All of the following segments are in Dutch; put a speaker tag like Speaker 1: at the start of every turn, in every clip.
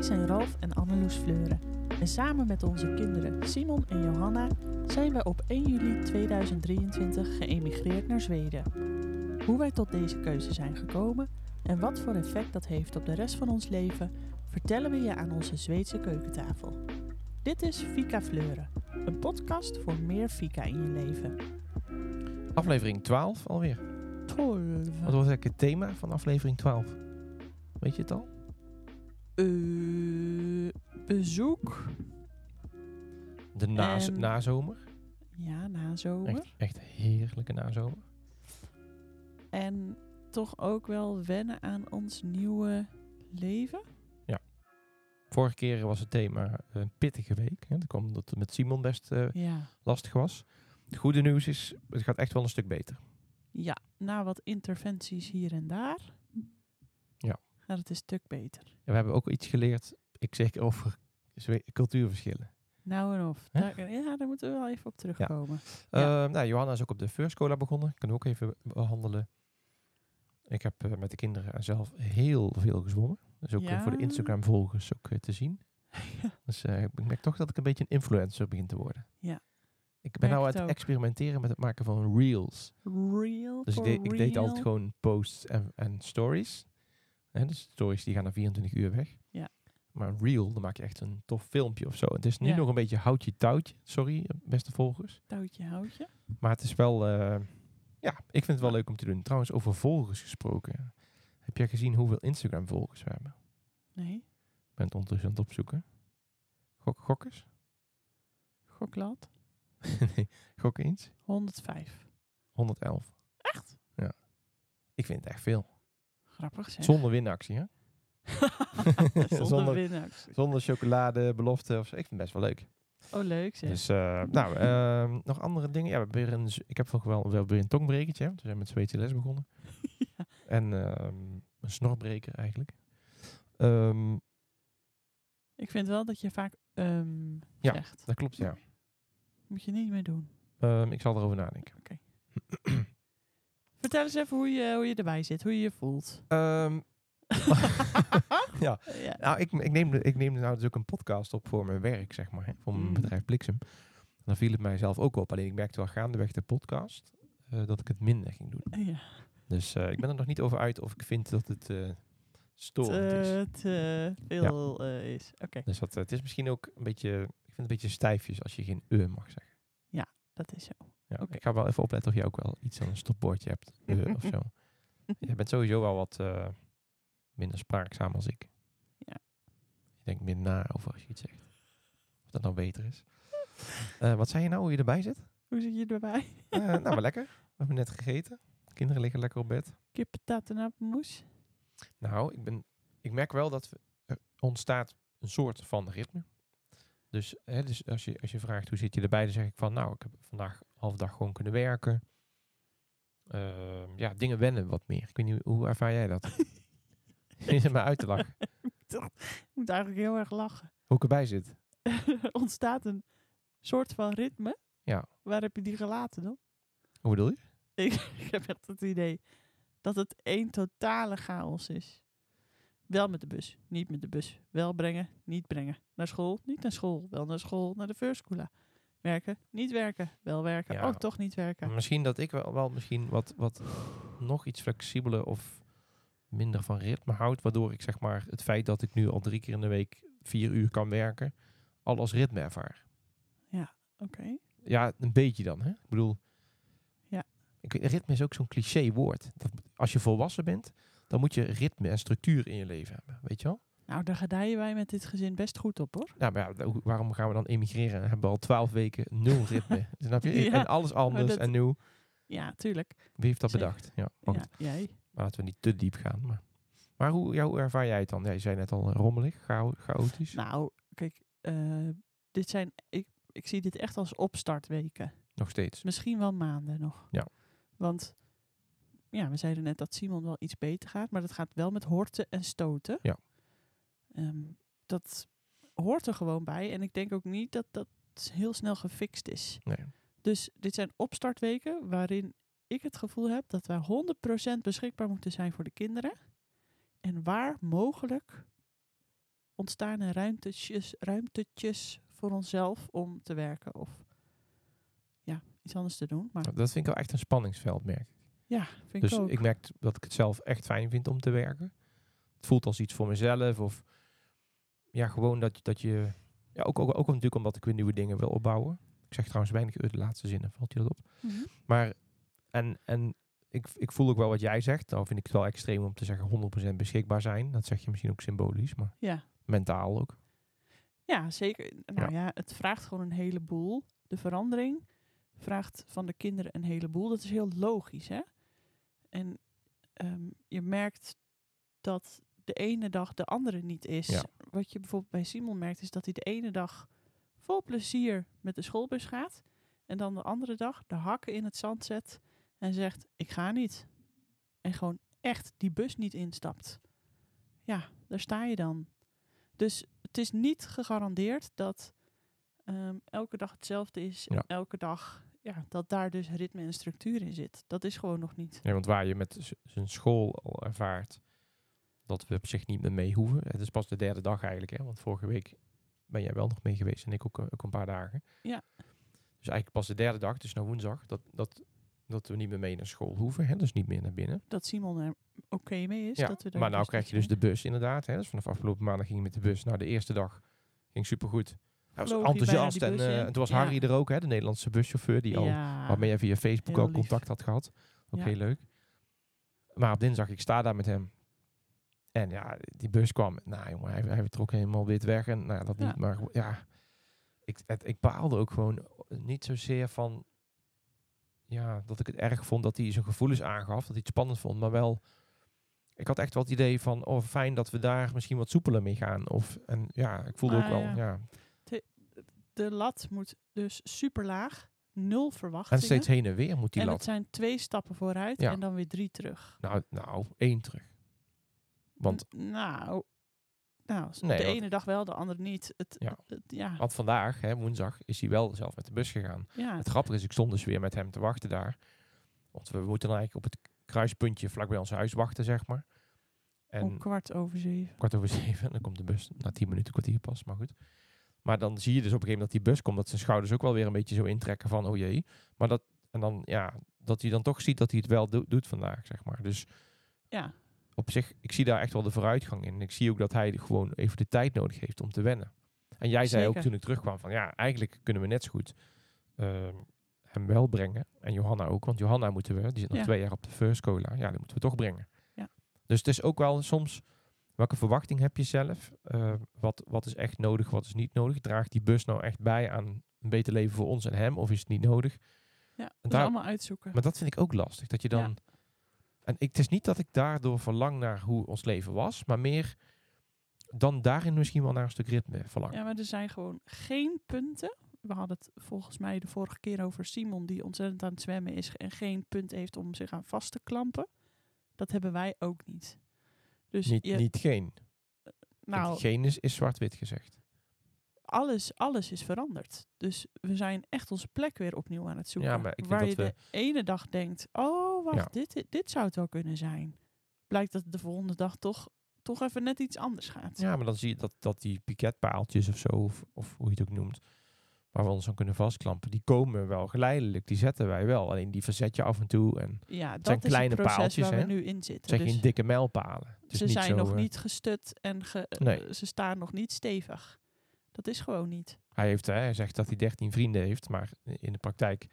Speaker 1: zijn Ralf en Anneloes Fleuren. En samen met onze kinderen Simon en Johanna zijn wij op 1 juli 2023 geëmigreerd naar Zweden. Hoe wij tot deze keuze zijn gekomen en wat voor effect dat heeft op de rest van ons leven, vertellen we je aan onze Zweedse keukentafel. Dit is Fika Fleuren, een podcast voor meer Fika in je leven.
Speaker 2: Aflevering 12 alweer. Wat was eigenlijk het thema van aflevering 12? Weet je het al?
Speaker 1: Eh, bezoek.
Speaker 2: De naz-
Speaker 1: Ehm,
Speaker 2: nazomer.
Speaker 1: Ja, nazomer.
Speaker 2: Echt, echt heerlijke nazomer.
Speaker 1: En toch ook wel wennen aan ons nieuwe leven.
Speaker 2: Vorige keer was het thema een pittige week. Hè. Dat kwam omdat het met Simon best eh,
Speaker 1: Ja.
Speaker 2: lastig was. Het goede nieuws is, het gaat echt wel een stuk beter.
Speaker 1: Ja, na wat interventies hier en daar.
Speaker 2: Ja.
Speaker 1: Gaat het een stuk beter.
Speaker 2: En we hebben ook iets geleerd, ik zeg over zwe- cultuurverschillen.
Speaker 1: Nou en of.
Speaker 2: Hè?
Speaker 1: Daar, ja, daar moeten we wel even op terugkomen. Ja.
Speaker 2: Eh, nou, Johanna is ook op de First Cola begonnen. Ik kan ook even behandelen. Ik heb eh, met de kinderen zelf heel veel gezwommen. Dus ook eh, voor de
Speaker 1: Ja.
Speaker 2: Instagram-volgers ook eh, te zien. Dus eh, ik merk toch dat ik een beetje een influencer begin te worden.
Speaker 1: Ja.
Speaker 2: Ik ben
Speaker 1: Merk
Speaker 2: nou aan
Speaker 1: het
Speaker 2: het
Speaker 1: ook.
Speaker 2: experimenteren met het maken van reels.
Speaker 1: Real
Speaker 2: Dus ik,
Speaker 1: for
Speaker 2: deed- ik deed
Speaker 1: real.
Speaker 2: altijd gewoon posts en, en stories. Hè, dus stories die gaan na 24 uur weg.
Speaker 1: Ja.
Speaker 2: Maar een reel, dan maak je echt een tof filmpje of zo. Het is nu
Speaker 1: Ja.
Speaker 2: nog een beetje houtje touwtje. Sorry, eh, beste volgers.
Speaker 1: Touwtje, houtje.
Speaker 2: Maar het is wel... eh, ja, ik vind het wel leuk om te doen. Trouwens, over volgers gesproken. Heb jij gezien hoeveel Instagram-volgers we hebben?
Speaker 1: Nee,
Speaker 2: Ik ben het ondertussen aan het opzoeken. Gok, gokkers?
Speaker 1: goklat.
Speaker 2: nee, gok eens.
Speaker 1: 105.
Speaker 2: 111.
Speaker 1: Echt?
Speaker 2: Ja. Ik vind het echt veel.
Speaker 1: Grappig zeg.
Speaker 2: Zonder winactie, hè?
Speaker 1: Zonder,
Speaker 2: Zonder-
Speaker 1: winactie.
Speaker 2: Zonder chocolade, belofte of zo. Ik vind het best wel leuk.
Speaker 1: Oh, leuk zeg.
Speaker 2: Dus, eh, nou, ehm, nog andere dingen. Ja, we hebben weer een, Z- ik heb nog wel, we hebben weer een tongbrekertje. hè, want We zijn met Zweedse les begonnen. En ehm, een snorbreker eigenlijk. Ehm,
Speaker 1: Ik vind wel dat je vaak ehm
Speaker 2: Ja.
Speaker 1: zegt.
Speaker 2: dat klopt, ja.
Speaker 1: Moet je niet meer doen.
Speaker 2: Ehm, ik zal erover nadenken.
Speaker 1: Vertel eens even hoe je, hoe je erbij zit, hoe je je voelt.
Speaker 2: Ehm, ja,
Speaker 1: Ja.
Speaker 2: Nou, ik, ik, neem, ik neem nou dus ook een podcast op voor mijn werk, zeg maar. Hè, voor mijn
Speaker 1: Mm.
Speaker 2: bedrijf Bliksem. En dan viel het mijzelf ook op. Alleen ik merkte wel gaandeweg de podcast eh, dat ik het minder ging doen.
Speaker 1: ja.
Speaker 2: Dus eh, ik ben er nog niet over uit of ik vind dat het eh storend is.
Speaker 1: Te, te veel eh, is. Oké,
Speaker 2: Dus dat, eh, het is misschien ook een beetje, ik vind het een beetje stijfjes als je geen e mag zeggen.
Speaker 1: dat is zo.
Speaker 2: Ja,
Speaker 1: Oké.
Speaker 2: Ik ga wel even opletten of je ook wel iets aan een stopbordje hebt eh, of zo. Je bent sowieso wel wat eh, minder spraakzaam als ik.
Speaker 1: Ja.
Speaker 2: Je denkt meer na over als je iets zegt. Of dat nou beter is. Eh, wat zei je nou hoe je erbij zit?
Speaker 1: Hoe zit je erbij?
Speaker 2: Eh, nou, maar lekker. We hebben net gegeten. Kinderen liggen lekker op bed.
Speaker 1: Kippentat en appelmoes?
Speaker 2: Nou, ik, ben, ik merk wel dat we- er ontstaat een soort van ritme. Dus, hè, dus als, je, als je vraagt hoe zit je erbij, dan zeg ik van nou, ik heb vandaag half dag gewoon kunnen werken. Ehm, ja, dingen wennen wat meer. Ik weet niet, hoe ervaar jij dat? Je zit maar uit te lachen.
Speaker 1: Ik moet eigenlijk heel erg lachen.
Speaker 2: Hoe ik erbij zit.
Speaker 1: Er ontstaat een soort van ritme.
Speaker 2: Ja.
Speaker 1: Waar heb je die gelaten dan?
Speaker 2: Hoe bedoel je?
Speaker 1: Ik, ik heb echt het idee dat het één totale chaos is. Wel met de bus, niet met de bus. Wel brengen, niet brengen. Naar school, niet naar school. Wel naar school, naar de firstcoola. Werken, niet werken. Wel werken,
Speaker 2: Ja. Mm.
Speaker 1: oh toch niet werken.
Speaker 2: Misschien dat ik wel, wel misschien wat, wat nog iets flexibeler of minder van ritme houd. Waardoor ik zeg maar het feit dat ik nu al drie keer in de week vier uur kan werken, al als ritme ervaar.
Speaker 1: Oké.
Speaker 2: Ja, een beetje dan. Hè? Ik bedoel,
Speaker 1: Ja.
Speaker 2: ik, weet- ritme is ook zo'n cliché woord. Dat, als je volwassen bent, dan moet je ritme en structuur in je leven hebben. Weet je wel?
Speaker 1: Nou, daar gedijen wij met dit gezin best goed op hoor.
Speaker 2: Nou, maar ja, hoe- waarom gaan we dan emigreren? Hebben we al twaalf weken nul ritme. Snap je?
Speaker 1: Ja,
Speaker 2: En alles anders
Speaker 1: dat-
Speaker 2: en nieuw.
Speaker 1: Ja, tuurlijk.
Speaker 2: Wie heeft dat
Speaker 1: Zeker.
Speaker 2: bedacht? Ja, maar
Speaker 1: Ja,
Speaker 2: goed.
Speaker 1: jij.
Speaker 2: Laten we niet te diep gaan. Maar, maar hoe, ja, hoe ervaar jij het dan? Ja, je zei net al eh, rommelig, chao- chaotisch.
Speaker 1: Nou, kijk, eh, dit zijn, ik, ik zie dit echt als opstartweken. Dus
Speaker 2: Nog steeds.
Speaker 1: Misschien wel maanden nog.
Speaker 2: Ja.
Speaker 1: Want ja, we zeiden net dat Simon wel iets beter gaat, maar dat gaat wel met horten en stoten.
Speaker 2: Ja.
Speaker 1: Ehm, dat hoort er gewoon bij. En ik denk ook niet dat dat heel snel gefixt is.
Speaker 2: Nee.
Speaker 1: Dus dit zijn opstartweken waarin ik het gevoel heb dat wij 100% beschikbaar moeten zijn voor de kinderen. En waar mogelijk ontstaan er ruimtetjes, ruimtetjes voor onszelf om te werken of ja, iets anders te doen. Maar
Speaker 2: Dat vind ik wel echt een spanningsveld, merk ik.
Speaker 1: ja, vind
Speaker 2: Dus
Speaker 1: ik ook.
Speaker 2: ik merk dat ik het zelf echt fijn vind om te werken. Het voelt als iets voor mezelf. Of ja, gewoon dat, dat je... Ja, ook, ook, ook natuurlijk omdat ik weer nieuwe dingen wil opbouwen. Ik zeg trouwens weinig uit de laatste zinnen, valt je dat op?
Speaker 1: Mhm.
Speaker 2: Maar, en, en ik, ik voel ook wel wat jij zegt. Dan vind ik het wel extreem om te zeggen 100% beschikbaar zijn. Dat zeg je misschien ook symbolisch, maar
Speaker 1: Ja.
Speaker 2: mentaal ook.
Speaker 1: Ja, zeker. Nou ja. het vraagt gewoon een heleboel. De verandering vraagt van de kinderen een heleboel. Dat is heel logisch, hè? En ehm, je merkt dat de ene dag de andere niet is.
Speaker 2: Ja.
Speaker 1: Wat je bijvoorbeeld bij Simon merkt, is dat hij de ene dag vol plezier met de schoolbus gaat. En dan de andere dag de hakken in het zand zet en zegt, ik ga niet. En gewoon echt die bus niet instapt. Ja, daar sta je dan. Dus het is niet gegarandeerd dat ehm, elke dag hetzelfde is. En
Speaker 2: Ja.
Speaker 1: elke dag, ja, dat daar dus ritme en structuur in zit. Dat is gewoon nog niet.
Speaker 2: Nee, want waar je met z- zijn school al ervaart dat we op zich niet meer mee hoeven. Het is pas de derde dag eigenlijk, hè? want vorige week ben jij wel nog mee geweest en ik ook, eh, ook een paar dagen.
Speaker 1: Ja.
Speaker 2: Dus eigenlijk pas de derde dag, dus nou woensdag, dat, dat, dat we niet meer mee naar school hoeven. Hè? Dus niet meer naar binnen.
Speaker 1: Dat Simon er oké mee is.
Speaker 2: ja,
Speaker 1: dat we daar
Speaker 2: maar nou
Speaker 1: dus
Speaker 2: krijg
Speaker 1: niet
Speaker 2: je dus
Speaker 1: zijn.
Speaker 2: de bus inderdaad. Hè? Dus vanaf afgelopen maandag ging je met de bus. Nou, de eerste dag ging supergoed. Hij was
Speaker 1: Vloog hij
Speaker 2: enthousiast
Speaker 1: bijna
Speaker 2: en
Speaker 1: die bus
Speaker 2: eh,
Speaker 1: in?
Speaker 2: en toen was
Speaker 1: Ja.
Speaker 2: Harry er ook, hè? de Nederlandse buschauffeur, die al
Speaker 1: ja.
Speaker 2: waarmee je via Facebook
Speaker 1: Ah, heel
Speaker 2: al
Speaker 1: lief.
Speaker 2: contact had gehad. Ook
Speaker 1: Ja.
Speaker 2: heel leuk. Maar op dinsdag, ik sta daar met hem. En ja, die bus kwam. Nou jongen, hij, hij trok helemaal wit weg. En nou, dat
Speaker 1: Ja.
Speaker 2: niet, maar ja. Ik, het, ik baalde ook gewoon niet zozeer van... Ja, dat ik het erg vond dat hij zijn gevoelens aangaf. Dat hij het spannend vond. Maar wel, ik had echt wel het idee van... Oh, fijn dat we daar misschien wat soepeler mee gaan. Of, en ja, ik voelde
Speaker 1: Ah,
Speaker 2: ook wel...
Speaker 1: ja.
Speaker 2: ja,
Speaker 1: de lat moet dus super laag. Nul
Speaker 2: En
Speaker 1: verwachtingen.
Speaker 2: steeds heen en weer moet die
Speaker 1: en
Speaker 2: lat.
Speaker 1: het zijn twee stappen vooruit
Speaker 2: Ja.
Speaker 1: en dan weer drie terug.
Speaker 2: Nou, nou, één terug. Want
Speaker 1: N- nou, nou s-
Speaker 2: Nee,
Speaker 1: de
Speaker 2: want-
Speaker 1: ene dag wel, de andere niet. Het,
Speaker 2: Ja. Oh,
Speaker 1: het- ja.
Speaker 2: Want vandaag, hè, woensdag, is hij wel zelf met de bus gegaan.
Speaker 1: ja.
Speaker 2: Het grappige is, ik stond dus weer met hem te wachten daar. Want we moeten dan eigenlijk op het kruispuntje vlakbij ons huis wachten, zeg maar. En
Speaker 1: Om kwart over zeven.
Speaker 2: kwart over zeven, dan komt de bus na tien minuten, kwartier pas, maar goed. Maar dan zie je dus op een gegeven moment dat die bus komt, dat zijn schouders ook wel weer een beetje zo intrekken van, oh jee. Maar dat, en dan, ja, dat hij dan toch ziet dat hij het wel do- doet vandaag, zeg maar. Dus
Speaker 1: Ja,
Speaker 2: op zich, ik zie daar echt wel de vooruitgang in. Ik zie ook dat hij gewoon even de tijd nodig heeft om te wennen. En jij zei ook
Speaker 1: Zeker.
Speaker 2: toen ik terugkwam van ja, eigenlijk kunnen we net zo goed ehm, hem wel brengen. En Johanna ook, want Johanna moeten we, die zit nog
Speaker 1: Ja.
Speaker 2: twee jaar op de first cola. Ja, die moeten we toch brengen.
Speaker 1: Ja.
Speaker 2: Dus het is ook wel soms, welke verwachting heb je zelf? Eh, wat, wat is echt nodig, wat is niet nodig? Draagt die bus nou echt bij aan een beter leven voor ons en hem? Of is het niet nodig?
Speaker 1: ja. dat
Speaker 2: daar-
Speaker 1: allemaal uitzoeken.
Speaker 2: Maar dat vind ik ook lastig. Dat je dan. En ik, het is niet dat ik daardoor verlang naar hoe ons leven was, maar meer dan daarin misschien wel naar een stuk ritme verlang.
Speaker 1: Ja, maar er zijn gewoon geen punten. We hadden het volgens mij de vorige keer over Simon die ontzettend aan het zwemmen is en geen punt heeft om zich aan vast te klampen. Dat hebben wij ook niet. Dus
Speaker 2: niet,
Speaker 1: je,
Speaker 2: niet geen.
Speaker 1: nou,
Speaker 2: Want geen is, is zwart-wit gezegd.
Speaker 1: alles, alles is veranderd. Dus we zijn echt onze plek weer opnieuw aan het zoeken.
Speaker 2: Ja, maar ik denk
Speaker 1: waar
Speaker 2: dat
Speaker 1: je
Speaker 2: we-
Speaker 1: de ene dag denkt, oh wacht,
Speaker 2: Ja.
Speaker 1: dit, dit, dit zou het wel kunnen zijn. Blijkt dat het de volgende dag toch, toch even net iets anders gaat.
Speaker 2: Ja, maar dan zie je dat, dat die piketpaaltjes of zo, of, of hoe je het ook noemt, waar we ons aan kunnen vastklampen, die komen wel geleidelijk. Die zetten wij wel. Alleen die verzet je af en toe. En
Speaker 1: Ja, dat
Speaker 2: zijn
Speaker 1: is
Speaker 2: kleine
Speaker 1: het proces
Speaker 2: paaltjes,
Speaker 1: waar
Speaker 2: hè?
Speaker 1: we nu in zitten.
Speaker 2: het zijn
Speaker 1: Dus-
Speaker 2: geen dikke mijlpalen. Het is
Speaker 1: ze
Speaker 2: niet
Speaker 1: zijn
Speaker 2: zo,
Speaker 1: nog
Speaker 2: eh,
Speaker 1: niet gestut en ge- eh,
Speaker 2: Nee.
Speaker 1: ze staan nog niet stevig. Dat is gewoon niet.
Speaker 2: Hij, heeft, hè, hij zegt dat hij 13 vrienden heeft, maar in de praktijk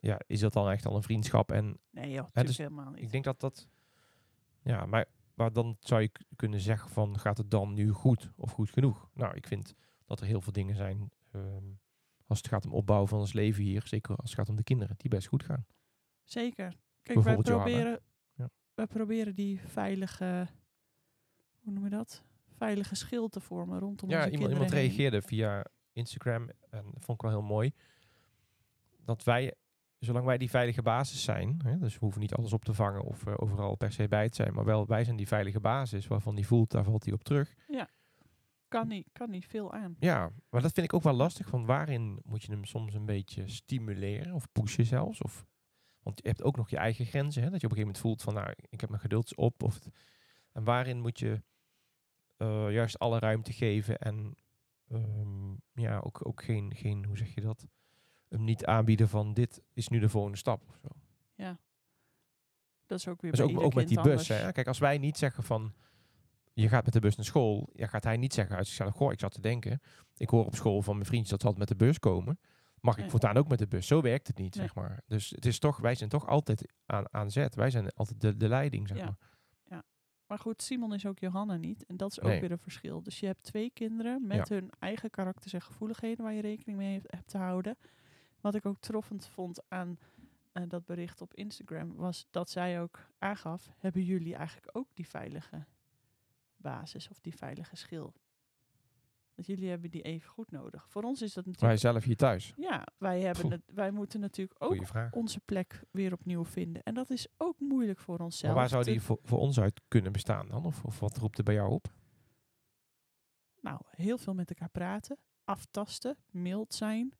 Speaker 2: ja, is dat dan echt al een vriendschap en
Speaker 1: Nee joh, natuurlijk
Speaker 2: dus
Speaker 1: helemaal niet.
Speaker 2: Ik denk dat dat... Ja, maar, maar dan zou je k- kunnen zeggen van... gaat het dan nu goed of goed genoeg? Nou, ik vind dat er heel veel dingen zijn... ehm, als het gaat om opbouw van ons leven hier... zeker als het gaat om de kinderen, die best goed gaan.
Speaker 1: Zeker. Kijk, wij
Speaker 2: Bijvoorbeeld Johanna.
Speaker 1: proberen,
Speaker 2: Ja.
Speaker 1: wij proberen die veilige, hoe noemen we dat? Veilige schil te vormen rondom
Speaker 2: ja,
Speaker 1: onze
Speaker 2: iemand,
Speaker 1: kinderen
Speaker 2: iemand
Speaker 1: heen.
Speaker 2: reageerde via Instagram... en dat vond ik wel heel mooi... dat wij, zolang wij die veilige basis zijn... Hè, dus we hoeven niet alles op te vangen... of eh, overal per se bij te zijn... maar wel, wij zijn die veilige basis... waarvan die voelt, daar valt hij op terug...
Speaker 1: Kan niet, kan niet veel aan.
Speaker 2: Ja, maar dat vind ik ook wel lastig. Van waarin moet je hem soms een beetje stimuleren of pushen zelfs? Of, want je hebt ook nog je eigen grenzen. Hè? Dat je op een gegeven moment voelt van nou, ik heb mijn geduld op. Of het- en waarin moet je eh, juist alle ruimte geven en ehm, ja, ook, ook geen, geen, hoe zeg je dat, hem niet aanbieden van dit is nu de volgende stap of zo.
Speaker 1: Ja. Dat is ook weer
Speaker 2: Dus
Speaker 1: bij
Speaker 2: ook,
Speaker 1: ieder
Speaker 2: ook met die
Speaker 1: kind
Speaker 2: bus.
Speaker 1: anders.
Speaker 2: Hè? Kijk, als wij niet zeggen van je gaat met de bus naar school, ja, gaat hij niet zeggen uit zichzelf, goh, ik zat te denken, ik hoor op school van mijn vriendjes dat ze altijd met de bus komen. Mag ik
Speaker 1: Nee.
Speaker 2: voortaan ook met de bus? Zo werkt het niet,
Speaker 1: Nee.
Speaker 2: zeg maar. Dus het is toch, wij zijn toch altijd aan, aan zet. Wij zijn altijd de, de leiding, zeg
Speaker 1: Ja.
Speaker 2: maar.
Speaker 1: Maar goed, Simon is ook Johanna niet. En dat is ook
Speaker 2: Nee.
Speaker 1: weer een verschil. Dus je hebt twee kinderen met hun eigen karakters en gevoeligheden waar je rekening mee hebt- hebt te houden. Wat ik ook troffend vond aan eh, dat bericht op Instagram was dat zij ook aangaf: hebben jullie eigenlijk ook die veilige basis of die veilige schil? Want jullie hebben die even goed nodig. Voor ons is dat
Speaker 2: Wij
Speaker 1: natuurlijk.
Speaker 2: zelf hier thuis.
Speaker 1: Ja, wij, hebben
Speaker 2: Poeh.
Speaker 1: het, wij moeten natuurlijk ook
Speaker 2: Goeie vraag.
Speaker 1: onze plek weer opnieuw vinden. En dat is ook moeilijk voor onszelf.
Speaker 2: Maar waar zou
Speaker 1: Te-
Speaker 2: die voor, voor ons uit kunnen bestaan dan? Of, of wat roept er bij jou op?
Speaker 1: Nou, heel veel met elkaar praten, aftasten, mild zijn.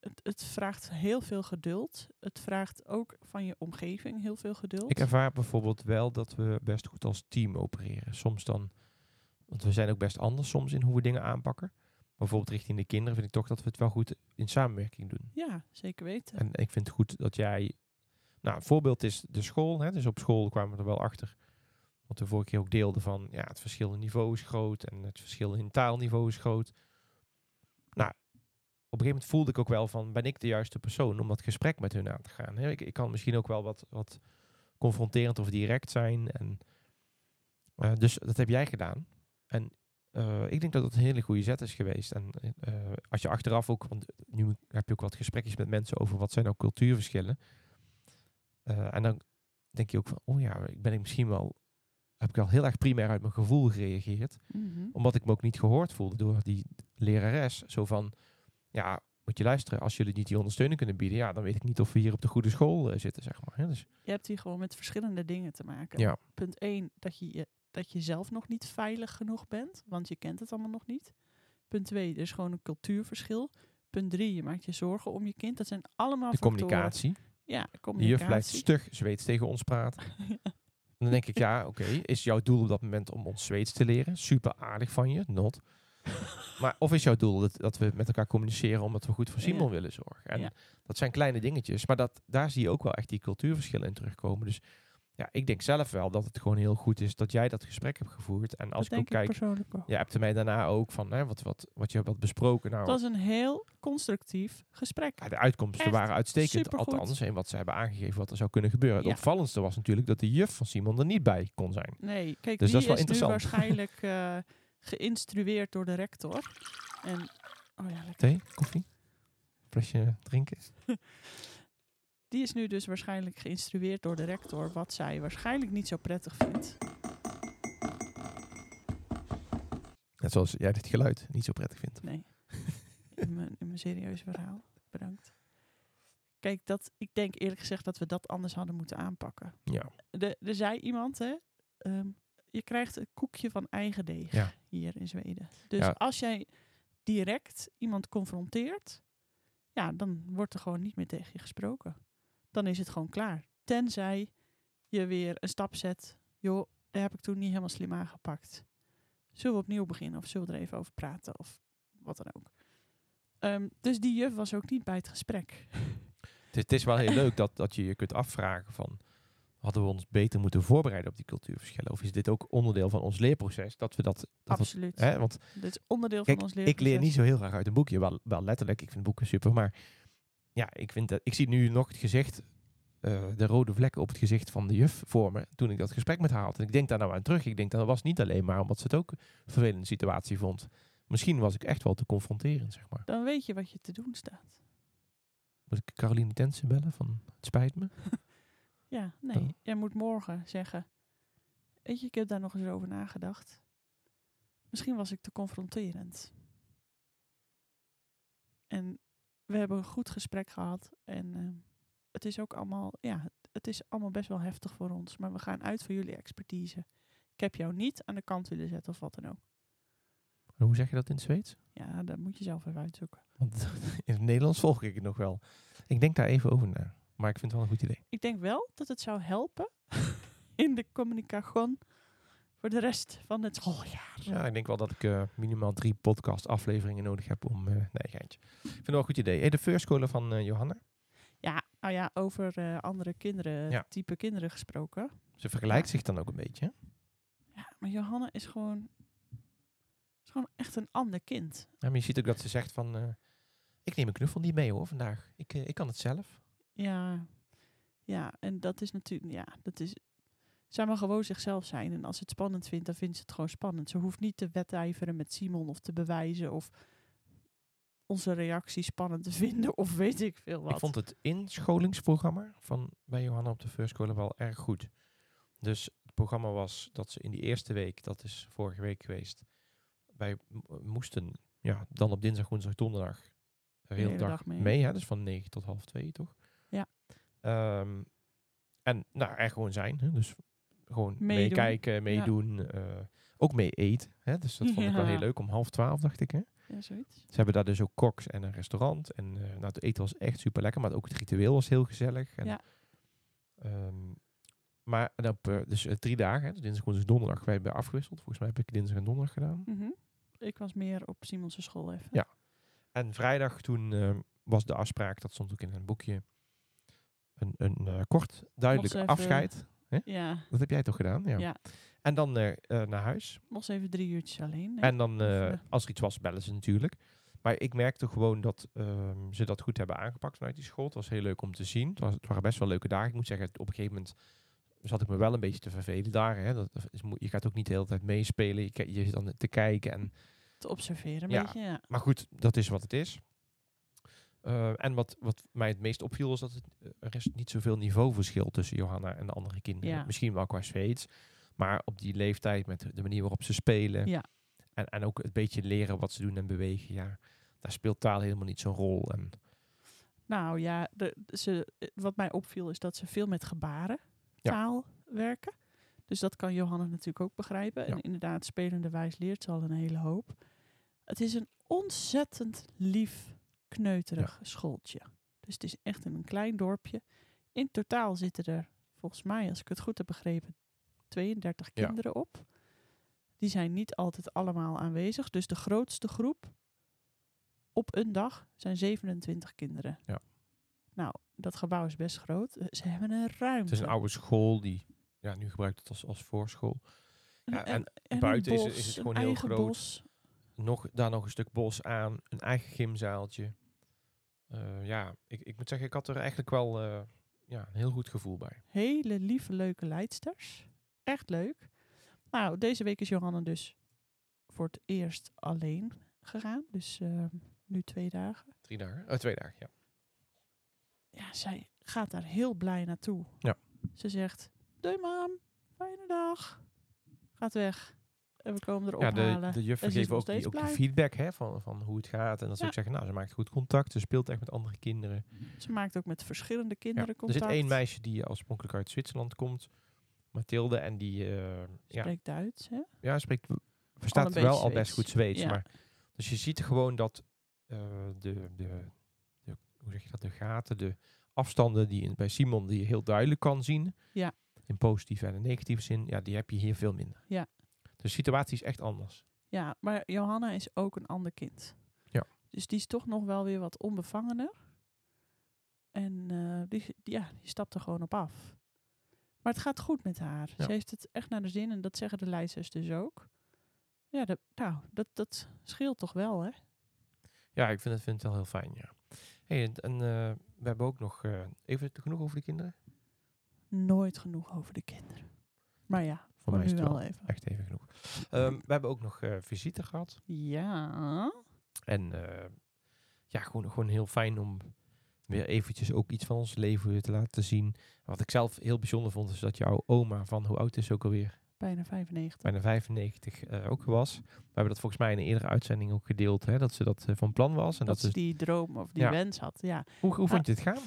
Speaker 1: Het, het vraagt heel veel geduld. Het vraagt ook van je omgeving heel veel geduld.
Speaker 2: Ik ervaar bijvoorbeeld wel dat we best goed als team opereren. Soms dan, want we zijn ook best anders soms in hoe we dingen aanpakken. Bijvoorbeeld richting de kinderen vind ik toch dat we het wel goed in samenwerking doen.
Speaker 1: ja, zeker weten.
Speaker 2: En ik vind het goed dat jij... Nou, een voorbeeld is de school. Hè? Dus op school kwamen we er wel achter. Wat we vorige keer ook deelden van... Ja, het verschil in niveau is groot. En het verschil in taalniveau is groot. Nou, op een gegeven moment voelde ik ook wel van... Ben ik de juiste persoon om dat gesprek met hun aan te gaan? Hè? Ik, ik kan misschien ook wel wat, wat confronterend of direct zijn. En, eh, dus dat heb jij gedaan. En eh, ik denk dat dat een hele goede zet is geweest. En eh, als je achteraf ook... Want nu heb je ook wat gesprekjes met mensen over wat zijn nou cultuurverschillen. Eh, en dan denk je ook van, oh ja, ik ben ik misschien wel, heb ik wel heel erg primair uit mijn gevoel gereageerd.
Speaker 1: Mhm.
Speaker 2: Omdat ik me ook niet gehoord voelde door die lerares. Zo van, ja, moet je luisteren, als jullie niet die ondersteuning kunnen bieden, ja, dan weet ik niet of we hier op de goede school eh, zitten, zeg maar. hè. Dus,
Speaker 1: Je hebt hier gewoon met verschillende dingen te maken.
Speaker 2: Ja.
Speaker 1: Punt 1, dat je, je, dat je zelf nog niet veilig genoeg bent, want je kent het allemaal nog niet. Punt 2, er is gewoon een cultuurverschil. Punt 3, je maakt je zorgen om je kind. Dat zijn allemaal
Speaker 2: de
Speaker 1: factoren.
Speaker 2: communicatie.
Speaker 1: Ja,
Speaker 2: De juf blijft
Speaker 1: eh, communicatie.
Speaker 2: stug Zweeds tegen ons praten. En dan denk ik, ja, oké, is jouw doel op dat moment om ons Zweeds te leren? Super aardig van je, not. Maar of is jouw doel dat, dat we met elkaar communiceren omdat we goed voor Simon
Speaker 1: Ja.
Speaker 2: willen zorgen? En
Speaker 1: Ja.
Speaker 2: dat zijn kleine dingetjes, maar dat, daar zie je ook wel echt die cultuurverschillen in terugkomen. Dus ja, ik denk zelf wel dat het gewoon heel goed is dat jij dat gesprek hebt gevoerd. En als
Speaker 1: dat
Speaker 2: ik ook
Speaker 1: denk ik
Speaker 2: kijk,
Speaker 1: persoonlijk ook.
Speaker 2: jij hebt er mij daarna ook van hè, wat, wat, wat je hebt besproken. Nou,
Speaker 1: Het was een heel constructief gesprek.
Speaker 2: ja, de uitkomsten
Speaker 1: Echt
Speaker 2: waren uitstekend,
Speaker 1: supergoed.
Speaker 2: althans, en wat ze hebben aangegeven wat er zou kunnen gebeuren.
Speaker 1: Ja.
Speaker 2: Het opvallendste was natuurlijk dat de juf van Simon er niet bij kon zijn.
Speaker 1: Nee, kijk,
Speaker 2: Dus
Speaker 1: die is,
Speaker 2: dat is wel
Speaker 1: nu
Speaker 2: interessant.
Speaker 1: waarschijnlijk eh, geïnstrueerd door de rector. En, oh ja, lekker.
Speaker 2: Thee, koffie, flesje drinken.
Speaker 1: Die is nu dus waarschijnlijk geïnstrueerd door de rector, wat zij waarschijnlijk niet zo prettig vindt.
Speaker 2: Net zoals jij dit geluid niet zo prettig vindt.
Speaker 1: Nee. In mijn, in mijn serieuze verhaal. Bedankt. Kijk, dat, ik denk eerlijk gezegd dat we dat anders hadden moeten aanpakken.
Speaker 2: Ja.
Speaker 1: De, er zei iemand, hè, ehm, je krijgt een koekje van eigen deeg
Speaker 2: Ja.
Speaker 1: hier in Zweden. Dus
Speaker 2: Ja.
Speaker 1: als jij direct iemand confronteert, ja, dan wordt er gewoon niet meer tegen je gesproken. Dan is het gewoon klaar. Tenzij je weer een stap zet, joh, daar heb ik toen niet helemaal slim aangepakt. Zullen we opnieuw beginnen of zullen we er even over praten of wat dan ook. Ehm, dus die juf was ook niet bij het gesprek.
Speaker 2: Het, is- het is wel heel leuk dat, dat je je kunt afvragen van... hadden we ons beter moeten voorbereiden op die cultuurverschillen? Of is dit ook onderdeel van ons leerproces? Dat we dat... dat we-
Speaker 1: Absoluut.
Speaker 2: hè, want
Speaker 1: Dit is onderdeel
Speaker 2: kijk,
Speaker 1: van ons leren.
Speaker 2: ik leer niet zo heel graag uit een boekje. Wel, wel letterlijk, ik vind boeken super. Maar ja, ik, vind dat, ik zie nu nog het gezicht... eh, de rode vlekken op het gezicht van de juf voor me... toen ik dat gesprek met haar had. En ik denk daar nou aan terug. Ik denk dat was niet alleen maar omdat ze het ook een vervelende situatie vond. Misschien was ik echt wel te confronterend, zeg maar.
Speaker 1: Dan weet je wat je te doen staat.
Speaker 2: Moet ik Caroline Tensen bellen van het spijt me?
Speaker 1: Ja, nee.
Speaker 2: Dan-
Speaker 1: Jij moet morgen zeggen. Weet je, ik heb daar nog eens over nagedacht. Misschien was ik te confronterend. En we hebben een goed gesprek gehad. En ehm, het is ook allemaal, ja, het- het is allemaal best wel heftig voor ons. Maar we gaan uit van jullie expertise. Ik heb jou niet aan de kant willen zetten of wat dan ook.
Speaker 2: Hoe zeg je dat in het Zweeds?
Speaker 1: Ja, dat moet je zelf even uitzoeken.
Speaker 2: Want in het Nederlands volg ik het nog wel. Ik denk daar even over na. Maar ik vind het wel een goed idee.
Speaker 1: Ik denk wel dat het zou helpen in de communication voor de rest van het schooljaar.
Speaker 2: Oh, Ja, ik denk wel dat ik eh, minimaal drie podcast-afleveringen nodig heb om. eh nee, geintje. Ik vind het wel een goed idee. Hey, de feurscholen van eh, Johanna.
Speaker 1: Ja, nou ja, over eh, andere kinderen,
Speaker 2: Ja.
Speaker 1: type kinderen gesproken.
Speaker 2: Ze vergelijkt zich dan ook een beetje. hè?
Speaker 1: Ja, maar Johanna is gewoon, is gewoon echt een ander kind.
Speaker 2: Ja, maar je ziet ook dat ze zegt van. eh, ik neem een knuffel niet mee hoor vandaag. Ik, eh, ik kan het zelf.
Speaker 1: Ja, ja en dat is natuurlijk, ja, dat is... Zij mag gewoon zichzelf zijn. En als ze het spannend vindt, dan vindt ze het gewoon spannend. Ze hoeft niet te wedijveren met Simon of te bewijzen of onze reactie spannend te vinden of weet ik veel wat.
Speaker 2: Ik vond het inscholingsprogramma van bij Johanna op de Feurscholen wel erg goed. Dus het programma was dat ze in die eerste week, dat is vorige week geweest, wij m- moesten ja, dan op dinsdag, woensdag, donderdag de hele dag, mee. hè? Dus van 9 tot half 2, toch?
Speaker 1: Ja.
Speaker 2: Ehm, en nou, er gewoon zijn. Hè? Dus gewoon
Speaker 1: Meedoen.
Speaker 2: meekijken, meedoen. eh, ook mee eten. Hè? Dus dat vond ik wel
Speaker 1: Ja.
Speaker 2: heel leuk. Om half 12, dacht ik. Hè?
Speaker 1: Ja, zoiets.
Speaker 2: Ze hebben daar dus ook koks en een restaurant. En eh, nou, het eten was echt super lekker, maar ook het ritueel was heel gezellig. En,
Speaker 1: Ja.
Speaker 2: ehm, maar en op, eh, dus eh, drie dagen, hè, dus dinsdag, woensdag, donderdag, wij hebben afgewisseld. Volgens mij heb ik dinsdag en donderdag gedaan.
Speaker 1: Mhm. Ik was meer op Simon's school even.
Speaker 2: Ja. En vrijdag toen ehm, was de afspraak, dat stond ook in een boekje, een, een eh, kort, duidelijk
Speaker 1: even-
Speaker 2: afscheid.
Speaker 1: Ja,
Speaker 2: Dat heb jij toch gedaan? Ja.
Speaker 1: Ja.
Speaker 2: En dan eh, eh, naar huis.
Speaker 1: mocht even drie uurtjes alleen. hè.
Speaker 2: En dan, eh,
Speaker 1: Even, eh.
Speaker 2: als er iets was, bellen ze natuurlijk. Maar ik merkte gewoon dat ehm, ze dat goed hebben aangepakt vanuit die school. Het was heel leuk om te zien. Het, was, het waren best wel leuke dagen. Ik moet zeggen, op een gegeven moment zat ik me wel een beetje te vervelen daar. Hè. Dat, dat is, mo- je gaat ook niet de hele tijd meespelen. Je, ki- je zit dan te kijken. En,
Speaker 1: te observeren een
Speaker 2: Ja.
Speaker 1: beetje, ja.
Speaker 2: maar goed, dat is wat het is. Eh, en wat, wat mij het meest opviel is dat het, eh, er is niet zoveel niveauverschil tussen Johanna en de andere kinderen.
Speaker 1: Ja.
Speaker 2: Misschien wel qua Zweeds, maar op die leeftijd met de manier waarop ze spelen.
Speaker 1: Ja.
Speaker 2: En, en ook het beetje leren wat ze doen en bewegen. Ja, daar speelt taal helemaal niet zo'n rol. En
Speaker 1: Nou ja, de, ze, eh, wat mij opviel is dat ze veel met gebaren
Speaker 2: Ja.
Speaker 1: taal werken. Dus dat kan Johanna natuurlijk ook begrijpen.
Speaker 2: Ja.
Speaker 1: En inderdaad, spelende wijs leert ze al een hele hoop. Het is een ontzettend lief, kneuterig schooltje. Dus het is echt in een klein dorpje. In totaal zitten er, volgens mij, als ik het goed heb begrepen, 32
Speaker 2: Ja.
Speaker 1: kinderen op. Die zijn niet altijd allemaal aanwezig. Dus de grootste groep op een dag zijn 27 kinderen.
Speaker 2: Ja.
Speaker 1: Nou, dat gebouw is best groot. Eh, Ze hebben een ruimte.
Speaker 2: het is een oude school die, ja, nu gebruikt het als, als voorschool. ja, en
Speaker 1: een
Speaker 2: buiten is- is het
Speaker 1: een
Speaker 2: gewoon heel
Speaker 1: eigen
Speaker 2: groot.
Speaker 1: bos.
Speaker 2: Nog, daar nog een stuk bos aan, een eigen gymzaaltje. Eh, ja, ik, ik moet zeggen, ik had er eigenlijk wel eh, ja, een heel goed gevoel bij.
Speaker 1: Hele lieve, leuke leidsters. Echt leuk. Nou, deze week is Johanna dus voor het eerst alleen gegaan. Dus eh, nu twee dagen.
Speaker 2: Drie dagen? eh, twee dagen, ja.
Speaker 1: Ja, zij gaat daar heel blij naartoe.
Speaker 2: Ja.
Speaker 1: Ze zegt, doei mam, fijne dag. Gaat weg. En we komen er
Speaker 2: Ja, de,
Speaker 1: ophalen.
Speaker 2: de juffen
Speaker 1: En ze is
Speaker 2: geven
Speaker 1: nog
Speaker 2: ook die,
Speaker 1: steeds
Speaker 2: ook die
Speaker 1: blij.
Speaker 2: feedback hè, van, van hoe het gaat. En dat ze
Speaker 1: Ja.
Speaker 2: ook zeggen, nou, ze maakt goed contact. Ze speelt echt met andere kinderen.
Speaker 1: Ze maakt ook met verschillende
Speaker 2: Ja.
Speaker 1: kinderen
Speaker 2: Er
Speaker 1: contact.
Speaker 2: zit één meisje die eh, oorspronkelijk uit Zwitserland komt. Mathilde. En die eh, ja,
Speaker 1: Spreekt Duits, hè?
Speaker 2: ja, spreekt,
Speaker 1: Al
Speaker 2: verstaat
Speaker 1: een
Speaker 2: wel
Speaker 1: beetje
Speaker 2: al best
Speaker 1: Zweeds.
Speaker 2: goed Zweeds.
Speaker 1: Ja.
Speaker 2: Maar, dus je ziet gewoon dat eh, de, de, de, hoe zeg je dat, de gaten, de afstanden die in, bij Simon die je heel duidelijk kan zien.
Speaker 1: Ja.
Speaker 2: In positieve en in negatieve zin. Ja, die heb je hier veel minder.
Speaker 1: Ja.
Speaker 2: De situatie is echt anders.
Speaker 1: Ja, maar Johanna is ook een ander kind.
Speaker 2: Ja.
Speaker 1: Dus die is toch nog wel weer wat onbevangener. En eh, die, die- ja, die stapt er gewoon op af. Maar het gaat goed met haar.
Speaker 2: Ja.
Speaker 1: Ze heeft het echt naar de zin en dat zeggen de leidsters dus ook. Ja, dat, nou, dat, dat scheelt toch wel, hè?
Speaker 2: Ja, ik vind het, vind het wel heel fijn, ja. Hey, en en, eh, we hebben ook nog... eh, even genoeg over de kinderen?
Speaker 1: Nooit genoeg over de kinderen. Maar ja, voor,
Speaker 2: Voor mij is
Speaker 1: nu
Speaker 2: het
Speaker 1: wel
Speaker 2: wel
Speaker 1: even.
Speaker 2: echt even genoeg. Ehm, we hebben ook nog eh, visite gehad.
Speaker 1: Ja.
Speaker 2: En eh, ja, gewoon, gewoon heel fijn om weer eventjes ook iets van ons leven weer te laten zien. Wat ik zelf heel bijzonder vond, is dat jouw oma van, hoe oud is ze ook alweer?
Speaker 1: Bijna 95.
Speaker 2: Bijna 95 eh, ook was. We hebben dat volgens mij in een eerdere uitzending ook gedeeld, hè, dat ze dat eh, van plan was.
Speaker 1: dat
Speaker 2: En dat
Speaker 1: ze
Speaker 2: is,
Speaker 1: die Ah. droom of die
Speaker 2: Ja.
Speaker 1: wens had. Ja,
Speaker 2: hoe, hoe vond je het gaan?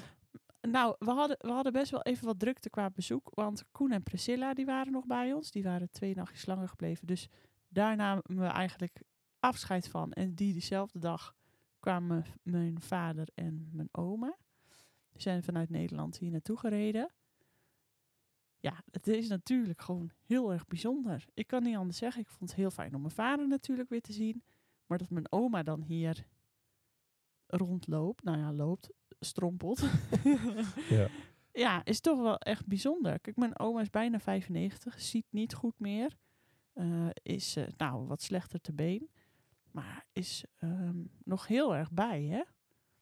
Speaker 1: Nou, we hadden, we hadden best wel even wat drukte qua bezoek. Want Koen en Priscilla die waren nog bij ons. Die waren twee nachtjes langer gebleven. Dus daar namen we eigenlijk afscheid van. En die diezelfde dag kwamen mijn vader en mijn oma. Die zijn vanuit Nederland hier naartoe gereden. Ja, het is natuurlijk gewoon heel erg bijzonder. Ik kan niet anders zeggen. Ik vond het heel fijn om mijn vader natuurlijk weer te zien. Maar dat mijn oma dan hier rondloopt. Nou ja, loopt, strompelt.
Speaker 2: Ja.
Speaker 1: Ja, is toch wel echt bijzonder. Kijk, mijn oma is bijna 95, ziet niet goed meer. eh, is, eh, nou, wat slechter te been. Maar is ehm, nog heel erg bij, hè?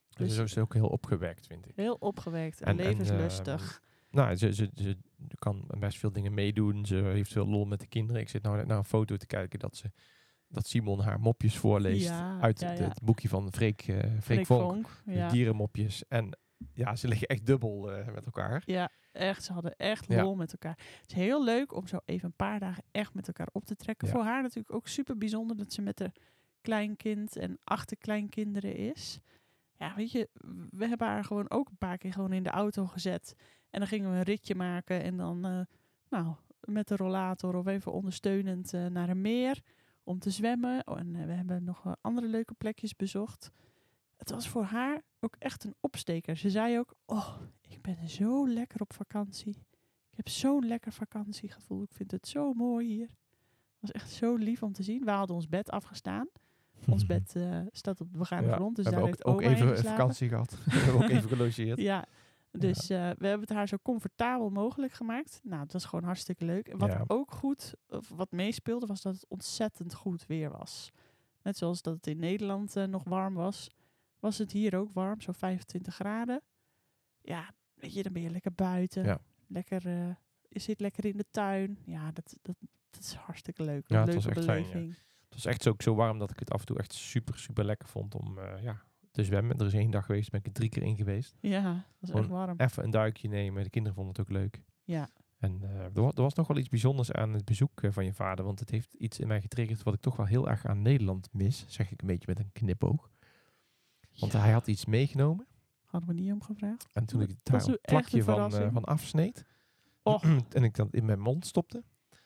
Speaker 2: Dus
Speaker 1: Dus-
Speaker 2: zo is het ook heel opgewekt, vind ik.
Speaker 1: Heel opgewekt en,
Speaker 2: En- en,
Speaker 1: levenslustig.
Speaker 2: Nou, ze, ze, ze kan best veel dingen meedoen. Ze heeft veel lol met de kinderen. Ik zit nou net naar een foto te kijken dat, ze, dat Simon haar mopjes voorleest
Speaker 1: Ja,
Speaker 2: uit
Speaker 1: ja,
Speaker 2: het-
Speaker 1: ja.
Speaker 2: het boekje van Freek, eh Freek,
Speaker 1: Freek
Speaker 2: Vonk.
Speaker 1: Vonk,
Speaker 2: De
Speaker 1: ja.
Speaker 2: dierenmopjes. En ja, ze liggen echt dubbel eh, met elkaar.
Speaker 1: ja, echt. Ze hadden echt
Speaker 2: Ja.
Speaker 1: lol met elkaar. Het is heel leuk om zo even een paar dagen echt met elkaar op te trekken.
Speaker 2: Ja.
Speaker 1: Voor haar natuurlijk ook super bijzonder dat ze met haar kleinkind en achterkleinkinderen is. Ja, weet je, we hebben haar gewoon ook een paar keer gewoon in de auto gezet. En dan gingen we een ritje maken en dan, eh, nou, met de rollator of even ondersteunend eh, naar een meer om te zwemmen. Oh, en eh, we hebben nog eh, andere leuke plekjes bezocht. Het was voor haar ook echt een opsteker. Ze zei ook, oh, ik ben zo lekker op vakantie. Ik heb zo'n lekker vakantiegevoel. Ik vind het zo mooi hier. Het was echt zo lief om te zien. We hadden ons bed afgestaan. Ons bed eh, staat op de begane
Speaker 2: Ja,
Speaker 1: grond, dus
Speaker 2: we
Speaker 1: daar
Speaker 2: hebben
Speaker 1: heeft
Speaker 2: ook, ook
Speaker 1: oma in
Speaker 2: even
Speaker 1: geslapen.
Speaker 2: vakantie gehad. we hebben ook even gelogeerd.
Speaker 1: Ja, dus eh, we hebben het haar zo comfortabel mogelijk gemaakt. Nou, het was gewoon hartstikke leuk. En wat
Speaker 2: Ja.
Speaker 1: ook goed, of wat meespeelde, was dat het ontzettend goed weer was. Net zoals dat het in Nederland eh, nog warm was, was het hier ook warm, zo 25 graden. Ja, weet je, dan ben je lekker buiten.
Speaker 2: Ja.
Speaker 1: Lekker, eh, je zit lekker in de tuin. Ja, dat, dat, dat is hartstikke leuk.
Speaker 2: Ja,
Speaker 1: Een
Speaker 2: het was
Speaker 1: leuke
Speaker 2: echt fijn, ja.
Speaker 1: beleving.
Speaker 2: Het was echt zo, ook zo warm dat ik het af en toe echt super, super lekker vond om eh, ja, te zwemmen. Er is één dag geweest, ben ik er drie keer in geweest.
Speaker 1: ja, het was
Speaker 2: Gewoon
Speaker 1: echt warm.
Speaker 2: Even een duikje nemen, de kinderen vonden het ook leuk.
Speaker 1: Ja.
Speaker 2: En eh, er, was, er was nog wel iets bijzonders aan het bezoek eh, van je vader, want het heeft iets in mij getriggerd wat ik toch wel heel erg aan Nederland mis, zeg ik een beetje met een knipoog. Want
Speaker 1: Ja,
Speaker 2: hij had iets meegenomen
Speaker 1: Hadden we niet om gevraagd.
Speaker 2: en toen ik
Speaker 1: was
Speaker 2: daar een
Speaker 1: echt een
Speaker 2: plakje van, eh,
Speaker 1: verrassing.
Speaker 2: van afsneed
Speaker 1: Och.
Speaker 2: en ik dat in mijn mond stopte,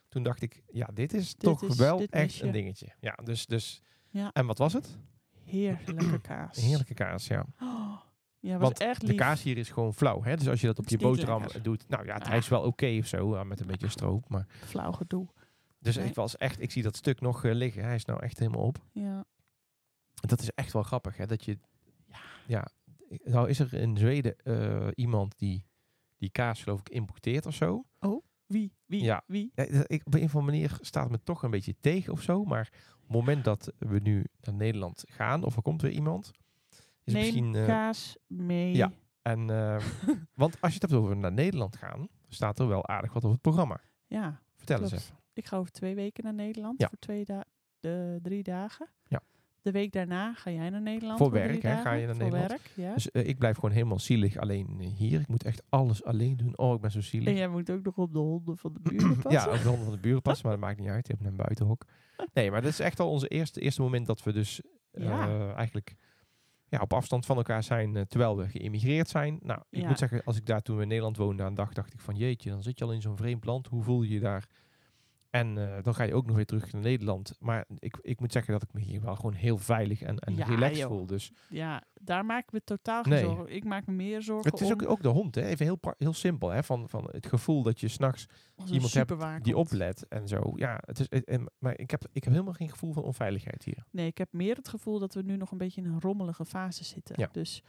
Speaker 2: toen dacht ik, ja, dit is toch
Speaker 1: is-
Speaker 2: wel
Speaker 1: dit
Speaker 2: echt
Speaker 1: mis je.
Speaker 2: een dingetje. Ja, dus, dus,
Speaker 1: Ja.
Speaker 2: en wat was het?
Speaker 1: Heerlijke kaas.
Speaker 2: Heerlijke kaas, ja.
Speaker 1: Oh, ja, was
Speaker 2: Want
Speaker 1: echt lief.
Speaker 2: De kaas hier is gewoon flauw. Hè? Dus als je dat op
Speaker 1: Het
Speaker 2: je
Speaker 1: is niet
Speaker 2: boterham
Speaker 1: lekker.
Speaker 2: doet, nou ja, het, hij is wel oké of zo, eh, met een beetje stroop. Maar.
Speaker 1: Flauw gedoe.
Speaker 2: Dus
Speaker 1: Nee.
Speaker 2: ik was echt, ik zie dat stuk nog eh, liggen. Hij is nou echt helemaal op.
Speaker 1: Ja.
Speaker 2: Dat is echt wel grappig, hè? Dat je, ja, nou is er in Zweden eh, iemand die die kaas geloof ik importeert of zo.
Speaker 1: Wie? Wie?
Speaker 2: Ja.
Speaker 1: Wie?
Speaker 2: Ja, dat- ik, op een of andere manier staat het me toch een beetje tegen of zo. Maar op het moment dat we nu naar Nederland gaan of er komt weer iemand, is het
Speaker 1: Neem
Speaker 2: misschien eh,
Speaker 1: kaas mee.
Speaker 2: ja. En, eh, want als je het hebt over naar Nederland gaan, staat er wel aardig wat op het programma.
Speaker 1: Ja,
Speaker 2: Vertel eens
Speaker 1: klopt.
Speaker 2: even.
Speaker 1: Ik ga over twee weken naar Nederland.
Speaker 2: Ja.
Speaker 1: Voor twee da de drie dagen.
Speaker 2: Ja.
Speaker 1: De week daarna ga jij naar Nederland.
Speaker 2: Voor
Speaker 1: drie
Speaker 2: werk, hè, ga
Speaker 1: dagen.
Speaker 2: je naar
Speaker 1: Voor
Speaker 2: Nederland.
Speaker 1: werk, ja.
Speaker 2: Dus eh, ik blijf gewoon helemaal zielig alleen eh, hier. Ik moet echt alles alleen doen. Oh, ik ben zo
Speaker 1: en
Speaker 2: zielig.
Speaker 1: jij moet ook nog op de honden van de buren
Speaker 2: Ja,
Speaker 1: passen.
Speaker 2: ook de handen van de buren passen, maar dat maakt niet uit. Je hebt een buitenhok. Nee, maar dat is echt al onze eerste, eerste moment dat we dus eh,
Speaker 1: Ja.
Speaker 2: eigenlijk ja, op afstand van elkaar zijn eh, terwijl we geïmigreerd zijn. Nou, ik
Speaker 1: Ja.
Speaker 2: moet zeggen, als ik daar toen we in Nederland woonde aan dag, dacht ik van jeetje, dan zit je al in zo'n vreemd land. Hoe voel je je daar? En eh, dan ga je ook nog weer terug naar Nederland. Maar ik, ik moet zeggen dat ik me hier wel gewoon heel veilig en, en
Speaker 1: Ja,
Speaker 2: relaxed
Speaker 1: joh.
Speaker 2: voel. Dus
Speaker 1: Ja, daar maak ik me totaal geen
Speaker 2: Nee.
Speaker 1: zorgen. Ik maak me meer zorgen
Speaker 2: Het is
Speaker 1: om
Speaker 2: ook, ook de hond, hè? even heel, pra- heel simpel. Hè? Van, van het gevoel dat je s'nachts
Speaker 1: als een
Speaker 2: iemand hebt
Speaker 1: superwaar
Speaker 2: die
Speaker 1: komt.
Speaker 2: oplet en zo. Ja, het is, eh, en- maar ik heb, ik heb helemaal geen gevoel van onveiligheid hier.
Speaker 1: Nee, ik heb meer het gevoel dat we nu nog een beetje in een rommelige fase zitten.
Speaker 2: Ja.
Speaker 1: Dus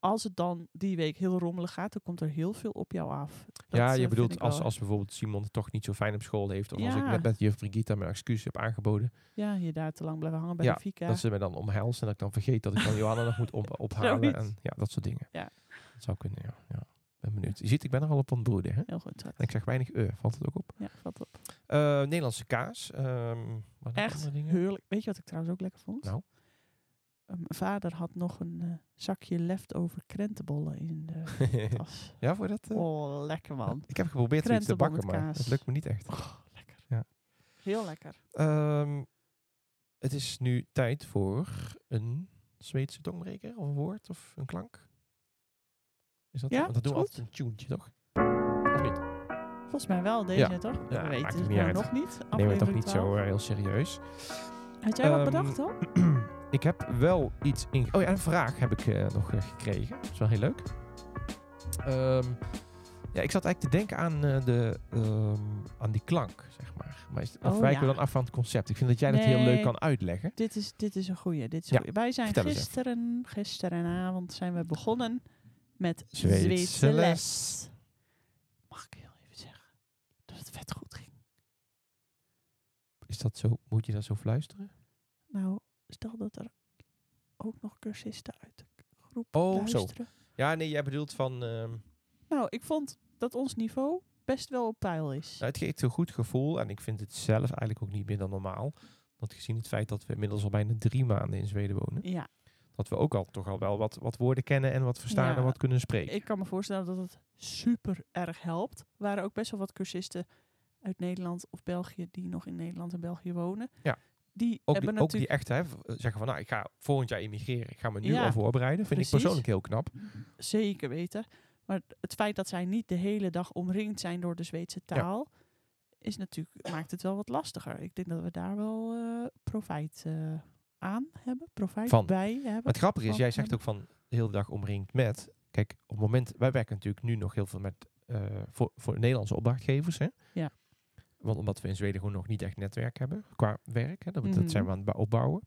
Speaker 1: als het dan die week heel rommelig gaat, dan komt er heel veel op jou af. Dat,
Speaker 2: ja,
Speaker 1: eh,
Speaker 2: je
Speaker 1: vind
Speaker 2: bedoelt
Speaker 1: ik
Speaker 2: als,
Speaker 1: wel-
Speaker 2: als bijvoorbeeld Simon het toch niet zo fijn op school heeft. Of als ik
Speaker 1: Ja.
Speaker 2: net met juf Brigitte mijn excuus heb aangeboden.
Speaker 1: Ja, je daar te lang blijven hangen bij
Speaker 2: Ja,
Speaker 1: de fika.
Speaker 2: Dat ze me dan omhelst en dat ik dan vergeet dat ik dan Johanna nog moet op, ophalen.
Speaker 1: Zoiets.
Speaker 2: En, ja, dat soort dingen.
Speaker 1: Ja.
Speaker 2: Dat zou kunnen, ja. ja. Ben benieuwd. Je ziet, ik ben er al op aan het broeden. Hè?
Speaker 1: Heel goed. Zat.
Speaker 2: En ik zeg weinig eh, valt het ook op.
Speaker 1: Ja, valt op.
Speaker 2: Eh, Nederlandse kaas. ehm, wat nog
Speaker 1: Echt
Speaker 2: andere dingen?
Speaker 1: heerlijk. Weet je wat ik trouwens ook lekker vond?
Speaker 2: Nou?
Speaker 1: Eh, Mijn vader had nog een eh, zakje leftover krentenbollen in de tas.
Speaker 2: ja, voor dat... eh,
Speaker 1: Oh, lekker man.
Speaker 2: Ik heb geprobeerd zoiets te
Speaker 1: Krentenbol
Speaker 2: bakken,
Speaker 1: met
Speaker 2: maar
Speaker 1: kaas.
Speaker 2: het lukt me niet echt.
Speaker 1: Oh, lekker.
Speaker 2: Ja.
Speaker 1: Heel lekker.
Speaker 2: Ehm, het is nu tijd voor een Zweedse tongbreker, of een woord, of een klank. Is dat
Speaker 1: Ja,
Speaker 2: Want dat doen we
Speaker 1: is
Speaker 2: altijd een tunetje, toch? Of niet?
Speaker 1: Volgens mij wel deze,
Speaker 2: Ja.
Speaker 1: toch?
Speaker 2: Ja,
Speaker 1: We
Speaker 2: maakt
Speaker 1: weten
Speaker 2: het
Speaker 1: het
Speaker 2: niet
Speaker 1: nou
Speaker 2: uit.
Speaker 1: nog niet.
Speaker 2: Neem het toch
Speaker 1: Aflevering
Speaker 2: niet zo
Speaker 1: 12.
Speaker 2: eh, heel serieus.
Speaker 1: Had jij wat
Speaker 2: Ehm,
Speaker 1: bedacht dan?
Speaker 2: ik heb wel iets in... Oh ja, een vraag heb ik eh, nog eh, gekregen. Dat is wel heel leuk. Ehm, Ja, ik zat eigenlijk te denken aan, eh, de, ehm, aan die klank, zeg maar. Maar is, afwijken
Speaker 1: Oh ja.
Speaker 2: we dan af van het concept? Ik vind dat jij dat heel
Speaker 1: Nee.
Speaker 2: leuk kan uitleggen.
Speaker 1: Dit is, dit is een goeie. Dit is
Speaker 2: Ja,
Speaker 1: goeie. Wij zijn
Speaker 2: vertel eens even.
Speaker 1: gisteren, gisterenavond zijn we begonnen met
Speaker 2: Zweedse
Speaker 1: Zweedse les.
Speaker 2: les.
Speaker 1: Mag ik heel even zeggen dat het vet goed ging?
Speaker 2: Is dat zo, moet je dat zo fluisteren?
Speaker 1: Nou, stel dat er ook nog cursisten uit de groep
Speaker 2: Oh, zo.
Speaker 1: luisteren.
Speaker 2: Ja, nee, jij bedoelt van... ehm,
Speaker 1: Nou, ik vond dat ons niveau best wel op peil is.
Speaker 2: Nou, het geeft een goed gevoel en ik vind het zelf eigenlijk ook niet meer dan normaal. Want gezien het feit dat we inmiddels al bijna drie maanden in Zweden wonen,
Speaker 1: Ja,
Speaker 2: dat we ook al toch al wel wat, wat woorden kennen en wat verstaan
Speaker 1: Ja,
Speaker 2: en wat kunnen spreken.
Speaker 1: ik kan me voorstellen dat het super erg helpt. Er waren ook best wel wat cursisten uit Nederland of België die nog in Nederland en België wonen.
Speaker 2: Ja.
Speaker 1: Die
Speaker 2: ook, die,
Speaker 1: hebben
Speaker 2: ook
Speaker 1: natuurlijk.
Speaker 2: die echt hè, v- zeggen van nou, ik ga volgend jaar immigreren, ik ga me nu
Speaker 1: Ja,
Speaker 2: al voorbereiden, vind
Speaker 1: precies.
Speaker 2: ik persoonlijk heel knap.
Speaker 1: Zeker weten. Maar het feit dat zij niet de hele dag omringd zijn door de Zweedse
Speaker 2: Ja.
Speaker 1: taal, is natuurlijk, maakt het wel wat lastiger. Ik denk dat we daar wel eh, profijt eh, aan hebben, profijt
Speaker 2: Van.
Speaker 1: bij hebben.
Speaker 2: Maar het grappige is,
Speaker 1: Van
Speaker 2: jij zegt
Speaker 1: hem.
Speaker 2: ook van de hele dag omringd met. Kijk, op het moment, wij werken natuurlijk nu nog heel veel met eh, voor, voor Nederlandse opdrachtgevers. Hè?
Speaker 1: Ja.
Speaker 2: Want omdat we in Zweden gewoon nog niet echt netwerk hebben qua werk. Hè? Dat, dat
Speaker 1: Mhm.
Speaker 2: zijn we aan het bou- opbouwen.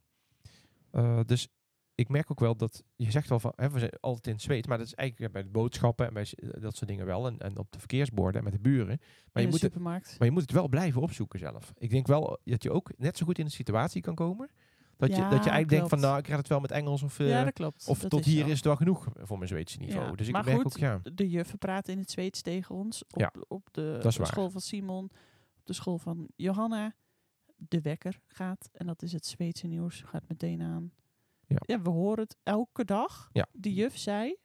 Speaker 2: Eh, dus ik merk ook wel dat je zegt wel van hè, we zijn altijd in het zweet, maar dat is eigenlijk bij de boodschappen en bij s- dat soort dingen wel. En, en op de verkeersborden en met de buren.
Speaker 1: in de
Speaker 2: Maar je, moet het,
Speaker 1: supermarkt.
Speaker 2: maar je moet het wel blijven opzoeken zelf. Ik denk wel dat je ook net zo goed in een situatie kan komen. Dat, je,
Speaker 1: Ja,
Speaker 2: dat je eigenlijk denkt van
Speaker 1: klopt.
Speaker 2: nou, ik red het wel met Engels of eh,
Speaker 1: ja, dat klopt.
Speaker 2: of
Speaker 1: Dat
Speaker 2: tot hier
Speaker 1: zo.
Speaker 2: is het wel genoeg voor mijn Zweedse niveau.
Speaker 1: Ja,
Speaker 2: Dus ik
Speaker 1: maar
Speaker 2: merk
Speaker 1: goed,
Speaker 2: ook, ja.
Speaker 1: De juffen praten in het Zweeds tegen ons. Op,
Speaker 2: Ja,
Speaker 1: op de
Speaker 2: dat is waar.
Speaker 1: school van Simon, op de school van Johanna. De wekker gaat, en dat is het Zweedse nieuws, gaat meteen aan.
Speaker 2: Ja.
Speaker 1: we horen het elke dag.
Speaker 2: Ja.
Speaker 1: De juf zei,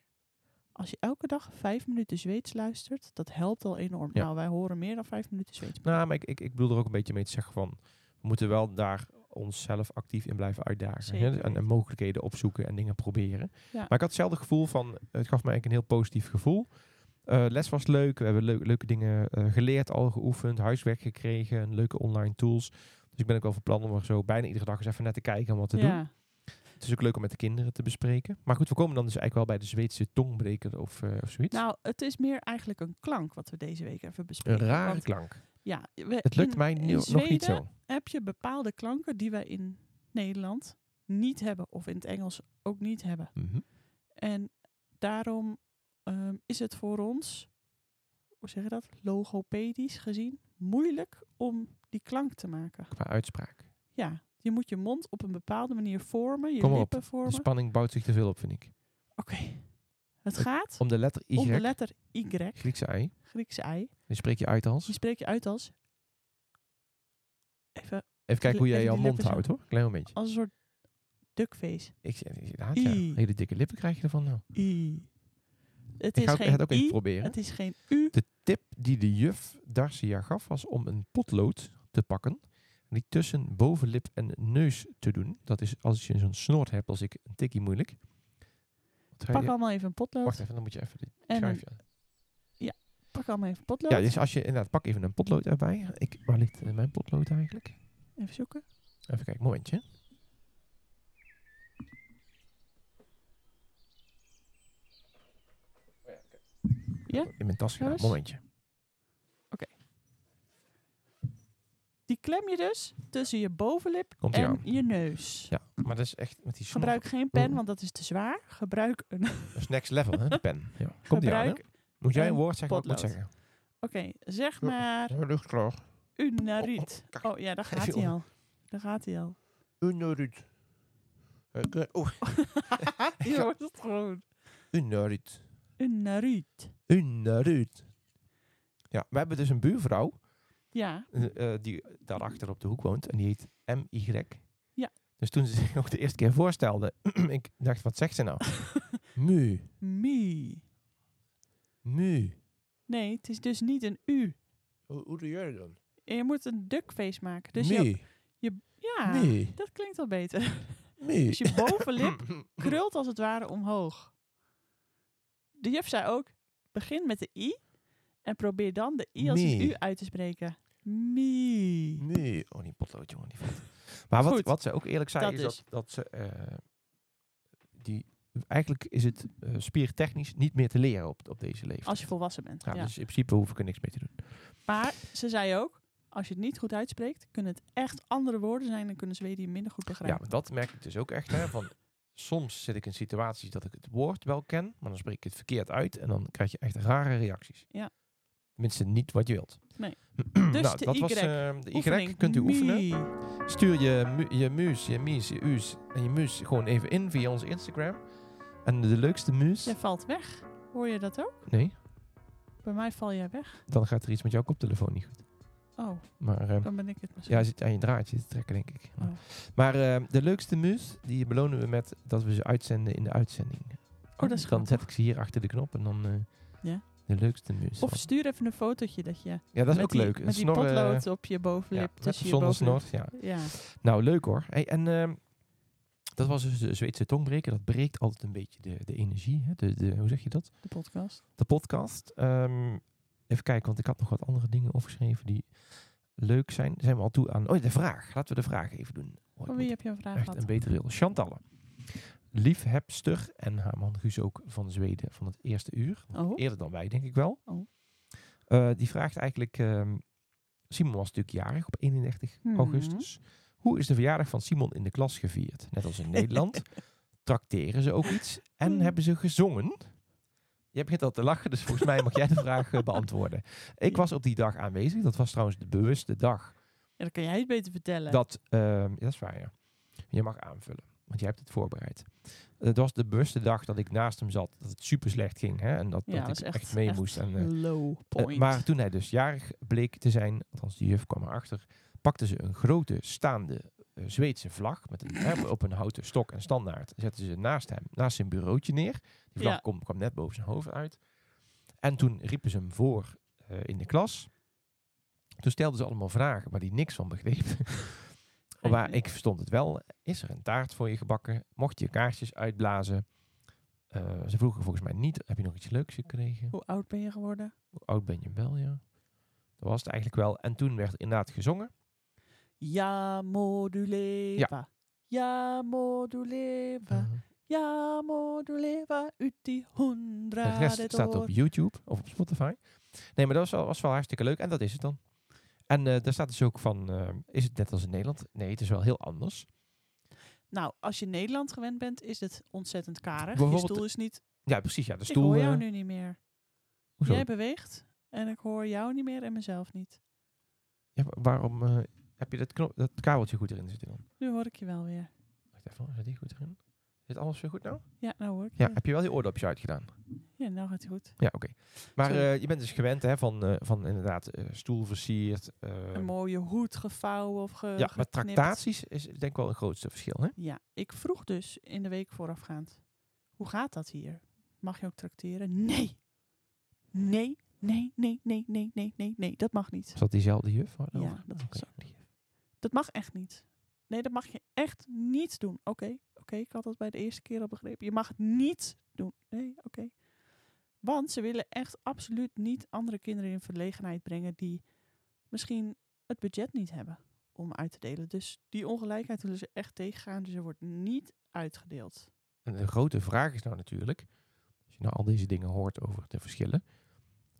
Speaker 1: als je elke dag vijf minuten Zweeds luistert, dat helpt al enorm.
Speaker 2: Ja.
Speaker 1: Nou, wij horen meer dan vijf minuten Zweeds.
Speaker 2: Nou, maar ik, ik, ik bedoel er ook een beetje mee te zeggen van, we moeten wel daar onszelf actief in blijven uitdagen. hè.
Speaker 1: Zeker
Speaker 2: En, en
Speaker 1: weten.
Speaker 2: mogelijkheden opzoeken en dingen proberen.
Speaker 1: Ja.
Speaker 2: Maar ik had hetzelfde gevoel van, het gaf mij eigenlijk een heel positief gevoel. Eh, les was leuk, we hebben leu- leuke dingen eh, geleerd, al geoefend, huiswerk gekregen, leuke online tools. Dus ik ben ook wel van plan om er zo bijna iedere dag eens even naar te kijken en wat te doen.
Speaker 1: ja.
Speaker 2: Het is ook leuk om met de kinderen te bespreken. Maar goed, we komen dan dus eigenlijk wel bij de Zweedse tongbreker of, eh, of zoiets.
Speaker 1: Nou, het is meer eigenlijk een klank wat we deze week even
Speaker 2: een
Speaker 1: bespreken.
Speaker 2: rare
Speaker 1: Want,
Speaker 2: klank.
Speaker 1: ja, we-
Speaker 2: Het lukt
Speaker 1: in-
Speaker 2: mij
Speaker 1: in
Speaker 2: nu- nog niet
Speaker 1: Zweden
Speaker 2: zo.
Speaker 1: heb je bepaalde klanken die wij in Nederland niet hebben, of in het Engels ook niet hebben.
Speaker 2: Mhm,
Speaker 1: En daarom ehm, is het voor ons, hoe zeg je dat, logopedisch gezien, moeilijk om die klank te maken.
Speaker 2: Qua uitspraak.
Speaker 1: Ja, je moet je mond op een bepaalde manier vormen, je
Speaker 2: Kom maar op,
Speaker 1: lippen
Speaker 2: De
Speaker 1: vormen. Oké,
Speaker 2: spanning bouwt zich te veel op, vind ik.
Speaker 1: het gaat
Speaker 2: Om de letter Y,
Speaker 1: om de letter Y,
Speaker 2: Griekse I,
Speaker 1: Griekse ei.
Speaker 2: die spreek je uit
Speaker 1: Die
Speaker 2: als.
Speaker 1: spreek je uit als, even
Speaker 2: Even kijken hoe jij
Speaker 1: Even
Speaker 2: jouw
Speaker 1: die
Speaker 2: mond
Speaker 1: lippen zo.
Speaker 2: houdt, hoor. Klein momentje.
Speaker 1: als een soort duckface.
Speaker 2: Ik zie ik zie het aan, ja.
Speaker 1: I.
Speaker 2: Hele dikke lippen krijg je ervan nou.
Speaker 1: I. Het is
Speaker 2: Ik ga ook- ik ga het
Speaker 1: geen
Speaker 2: ook even
Speaker 1: I,
Speaker 2: proberen.
Speaker 1: het is geen U.
Speaker 2: De tip die de juf Darcia gaf was om een potlood te pakken. En die tussen bovenlip en neus te doen. Dat is als je zo'n snor hebt, als ik een tikkie moeilijk. Wat ga
Speaker 1: Pak
Speaker 2: je-
Speaker 1: allemaal even een
Speaker 2: Wacht
Speaker 1: potlood.
Speaker 2: even, dan moet je even dit
Speaker 1: En dan
Speaker 2: schuifje aan.
Speaker 1: pak allemaal even potlood.
Speaker 2: Ja, dus als je inderdaad, pak even een potlood erbij. Ik, waar ligt eh, mijn potlood eigenlijk?
Speaker 1: Even zoeken.
Speaker 2: Even kijken, momentje.
Speaker 1: Ja?
Speaker 2: In mijn tas gedaan,
Speaker 1: eens.
Speaker 2: momentje.
Speaker 1: Die klem je dus tussen je bovenlip
Speaker 2: Komt ie
Speaker 1: en
Speaker 2: aan.
Speaker 1: je neus.
Speaker 2: Ja, maar dat is echt met die snor-
Speaker 1: Gebruik geen pen, want dat is te zwaar. Gebruik een. Oké,
Speaker 2: Dat is next level, hè, de pen. Ja. Komt die aan, hè?
Speaker 1: Gebruik
Speaker 2: Moet jij een
Speaker 1: een
Speaker 2: woord zeggen wat ik moet
Speaker 1: potlood. Ah.
Speaker 2: zeggen?
Speaker 1: zeg
Speaker 2: Ja.
Speaker 1: maar
Speaker 2: Luchtklaar.
Speaker 1: unarit.
Speaker 2: kak.
Speaker 1: Oh ja, daar gaat
Speaker 2: Jongen.
Speaker 1: hij al. Daar gaat hij al.
Speaker 2: Unorit. Oeh,
Speaker 1: Je hoort het gewoon.
Speaker 2: unorit.
Speaker 1: Unarit.
Speaker 2: Unorit. Ja, we hebben dus een buurvrouw
Speaker 1: Ja,
Speaker 2: eh, eh, die daarachter op de hoek woont. En die heet M.Y.
Speaker 1: Ja.
Speaker 2: Dus toen ze zich ook de eerste keer voorstelde, ik dacht, wat zegt ze nou? mu,
Speaker 1: mi.
Speaker 2: mu.
Speaker 1: Nee, het is dus niet een U.
Speaker 2: Hoe, doe jij dat dan?
Speaker 1: En je moet een duckface maken. Dus je,
Speaker 2: mu,
Speaker 1: ja,
Speaker 2: mu,
Speaker 1: dat klinkt al beter.
Speaker 2: mu.
Speaker 1: Dus je
Speaker 2: Hmm.
Speaker 1: bovenlip krult als het ware omhoog. De juf zei ook, begin met de i en probeer dan de i als een
Speaker 2: Mie.
Speaker 1: u uit te spreken. Mie.
Speaker 2: Mu. Oh, die potlood, jongen. Die valt. maar wat,
Speaker 1: Goed. dus.
Speaker 2: wat ze ook eerlijk zei,
Speaker 1: Dat
Speaker 2: is
Speaker 1: dus.
Speaker 2: dat, dat ze eh, die eigenlijk is het eh, spiertechnisch niet meer te leren op, op deze leeftijd.
Speaker 1: Als je volwassen bent.
Speaker 2: ja,
Speaker 1: ja.
Speaker 2: Dus in principe hoef ik er niks mee te doen.
Speaker 1: Maar ze zei ook, als je het niet goed uitspreekt, kunnen het echt andere woorden zijn en kunnen Zweden je minder goed
Speaker 2: Ja,
Speaker 1: begrijpen.
Speaker 2: maar dat merk ik dus ook echt. Hè, van, soms zit ik in situaties dat ik het woord wel ken, maar dan spreek ik het verkeerd uit en dan krijg je echt rare reacties.
Speaker 1: Ja.
Speaker 2: Tenminste, niet wat je wilt.
Speaker 1: Nee.
Speaker 2: nou,
Speaker 1: Dus de
Speaker 2: dat was
Speaker 1: Y.
Speaker 2: eh, de Y.
Speaker 1: Oefening.
Speaker 2: Kunt u oefenen.
Speaker 1: Mie.
Speaker 2: Stuur je, mu- je muus, je mies, je uus en je muus gewoon even in via onze Instagram. En de leukste muus...
Speaker 1: Jij valt weg. Hoor je dat ook?
Speaker 2: Nee,
Speaker 1: Bij mij val jij weg.
Speaker 2: dan gaat er iets met jouw koptelefoon niet goed.
Speaker 1: Oh,
Speaker 2: Maar ehm,
Speaker 1: dan ben ik het
Speaker 2: ja,
Speaker 1: misschien.
Speaker 2: hij zit aan je draadje te trekken, denk ik.
Speaker 1: Oh.
Speaker 2: Maar ehm, de leukste muus, die belonen we met dat we ze uitzenden in de uitzending.
Speaker 1: Oh, dat is
Speaker 2: dan
Speaker 1: grappig.
Speaker 2: zet ik ze hier achter de knop en dan eh,
Speaker 1: Ja.
Speaker 2: de leukste muus.
Speaker 1: Of stuur even een fotootje dat je
Speaker 2: ja, dat is
Speaker 1: met
Speaker 2: ook
Speaker 1: die,
Speaker 2: leuk. Een
Speaker 1: met die
Speaker 2: snor, eh,
Speaker 1: potlood op je
Speaker 2: ja,
Speaker 1: bovenlip,
Speaker 2: met of
Speaker 1: tussen je
Speaker 2: zonder
Speaker 1: bovenlip.
Speaker 2: snor. Ja.
Speaker 1: Ja,
Speaker 2: Nou, leuk hoor. Hey, en ehm, dat was dus de Zweedse tongbreker. Dat breekt altijd een beetje de, de energie. Hè? De, de, hoe zeg je dat?
Speaker 1: de podcast.
Speaker 2: de podcast. Ehm, even kijken, want ik had nog wat andere dingen opgeschreven die leuk zijn. Zijn we al toe aan... Oh, de vraag. Laten we de vraag even doen. Oh, ik
Speaker 1: Van
Speaker 2: moet
Speaker 1: wie heb je een vraag
Speaker 2: echt
Speaker 1: gehad?
Speaker 2: een betere wil. Chantalle. Liefhebster en haar man Guus ook van Zweden van het eerste uur.
Speaker 1: Oh,
Speaker 2: Eerder dan wij, denk ik wel.
Speaker 1: Oh.
Speaker 2: Eh, die vraagt eigenlijk... ehm, Simon was natuurlijk jarig op 31
Speaker 1: Mhm.
Speaker 2: augustus. Hoe is de verjaardag van Simon in de klas gevierd? Net als in Nederland. Trakteren ze ook iets? En
Speaker 1: Hmm.
Speaker 2: hebben ze gezongen? Je begint al te lachen, dus volgens mij mag jij de vraag eh, beantwoorden. Ik was op die dag aanwezig. Dat was trouwens de bewuste dag.
Speaker 1: ja, dan kan jij het beter vertellen.
Speaker 2: Dat, ehm, ja, dat is waar, ja. Je mag aanvullen, want jij hebt het voorbereid. Het was de bewuste dag dat ik naast hem zat. Dat het super slecht ging. Hè? En dat,
Speaker 1: Ja,
Speaker 2: dat
Speaker 1: dat
Speaker 2: ik
Speaker 1: is
Speaker 2: echt,
Speaker 1: echt-
Speaker 2: mee
Speaker 1: echt
Speaker 2: moest. En, eh,
Speaker 1: Low
Speaker 2: eh,
Speaker 1: point.
Speaker 2: maar toen hij dus jarig bleek te zijn, althans de juf kwam erachter, pakte ze een grote staande eh, Zweedse vlag met een, hè, op een houten stok en standaard. Zetten ze naast hem, naast zijn bureautje neer. Die vlag
Speaker 1: Ja.
Speaker 2: kwam, kwam net boven zijn hoofd uit. En toen riepen ze hem voor eh, in de klas. Toen stelden ze allemaal vragen waar hij niks van begreep. maar ik verstond het wel. Is er een taart voor je gebakken? Mocht je kaarsjes uitblazen? Eh, ze vroegen volgens mij niet, heb je nog iets leuks gekregen?
Speaker 1: Hoe oud ben je geworden?
Speaker 2: Hoe oud ben je wel, ja? Dat was het eigenlijk wel. En toen werd inderdaad gezongen.
Speaker 1: Ja, moduleva. Ja,
Speaker 2: Eh,
Speaker 1: moduleva. Ja, moduleva. Ut die
Speaker 2: de
Speaker 1: hondrade
Speaker 2: rest staat op
Speaker 1: door.
Speaker 2: YouTube of op Spotify. Nee, maar dat was wel, was wel hartstikke leuk. En dat is het dan. En eh, daar staat dus ook van, eh, is het net als in Nederland? Nee, het is wel heel anders.
Speaker 1: Nou, als je Nederland gewend bent, is het ontzettend karig. Je
Speaker 2: Bijvoorbeeld-
Speaker 1: stoel is niet...
Speaker 2: Ja, precies. Ja, de
Speaker 1: ik
Speaker 2: stoel.
Speaker 1: hoor jou
Speaker 2: eh,
Speaker 1: nu niet meer.
Speaker 2: hoezo?
Speaker 1: Jij beweegt en ik hoor jou niet meer en mezelf niet.
Speaker 2: Ja, wa- waarom eh, heb je dat, knop, dat kabeltje goed erin zitten dan?
Speaker 1: Nu hoor ik je wel weer.
Speaker 2: Wacht even, zit die goed erin? Zit alles weer goed nou?
Speaker 1: Ja, nou hoor ik je
Speaker 2: Ja,
Speaker 1: weer.
Speaker 2: heb je wel je oordopjes uitgedaan?
Speaker 1: Ja, nou gaat het goed.
Speaker 2: Ja, oké. Maar
Speaker 1: Sorry.
Speaker 2: eh, je bent dus gewend hè, van, eh, van inderdaad eh, stoel versierd. eh,
Speaker 1: Een mooie hoed gevouwen of ge
Speaker 2: ja, maar
Speaker 1: geknipt.
Speaker 2: tractaties is denk ik wel het grootste verschil. Hè?
Speaker 1: Ja, ik vroeg dus in de week voorafgaand. Hoe gaat dat hier? Mag je ook tracteren? Nee. Nee, nee, nee, nee, nee, nee, nee, nee. Dat mag niet.
Speaker 2: Is dat diezelfde juf? waar het
Speaker 1: Ja,
Speaker 2: over-
Speaker 1: dat
Speaker 2: Oké.
Speaker 1: was ook die juf. Dat mag echt niet. Nee, dat mag je echt niet doen. Oké, oké, ik had dat bij de eerste keer al begrepen. Je mag het niet doen. Nee, oké. Want ze willen echt absoluut niet andere kinderen in verlegenheid brengen die misschien het budget niet hebben om uit te delen. Dus die ongelijkheid willen ze echt tegengaan. Dus er wordt niet uitgedeeld.
Speaker 2: En de grote vraag is nou natuurlijk, als je nou al deze dingen hoort over de verschillen,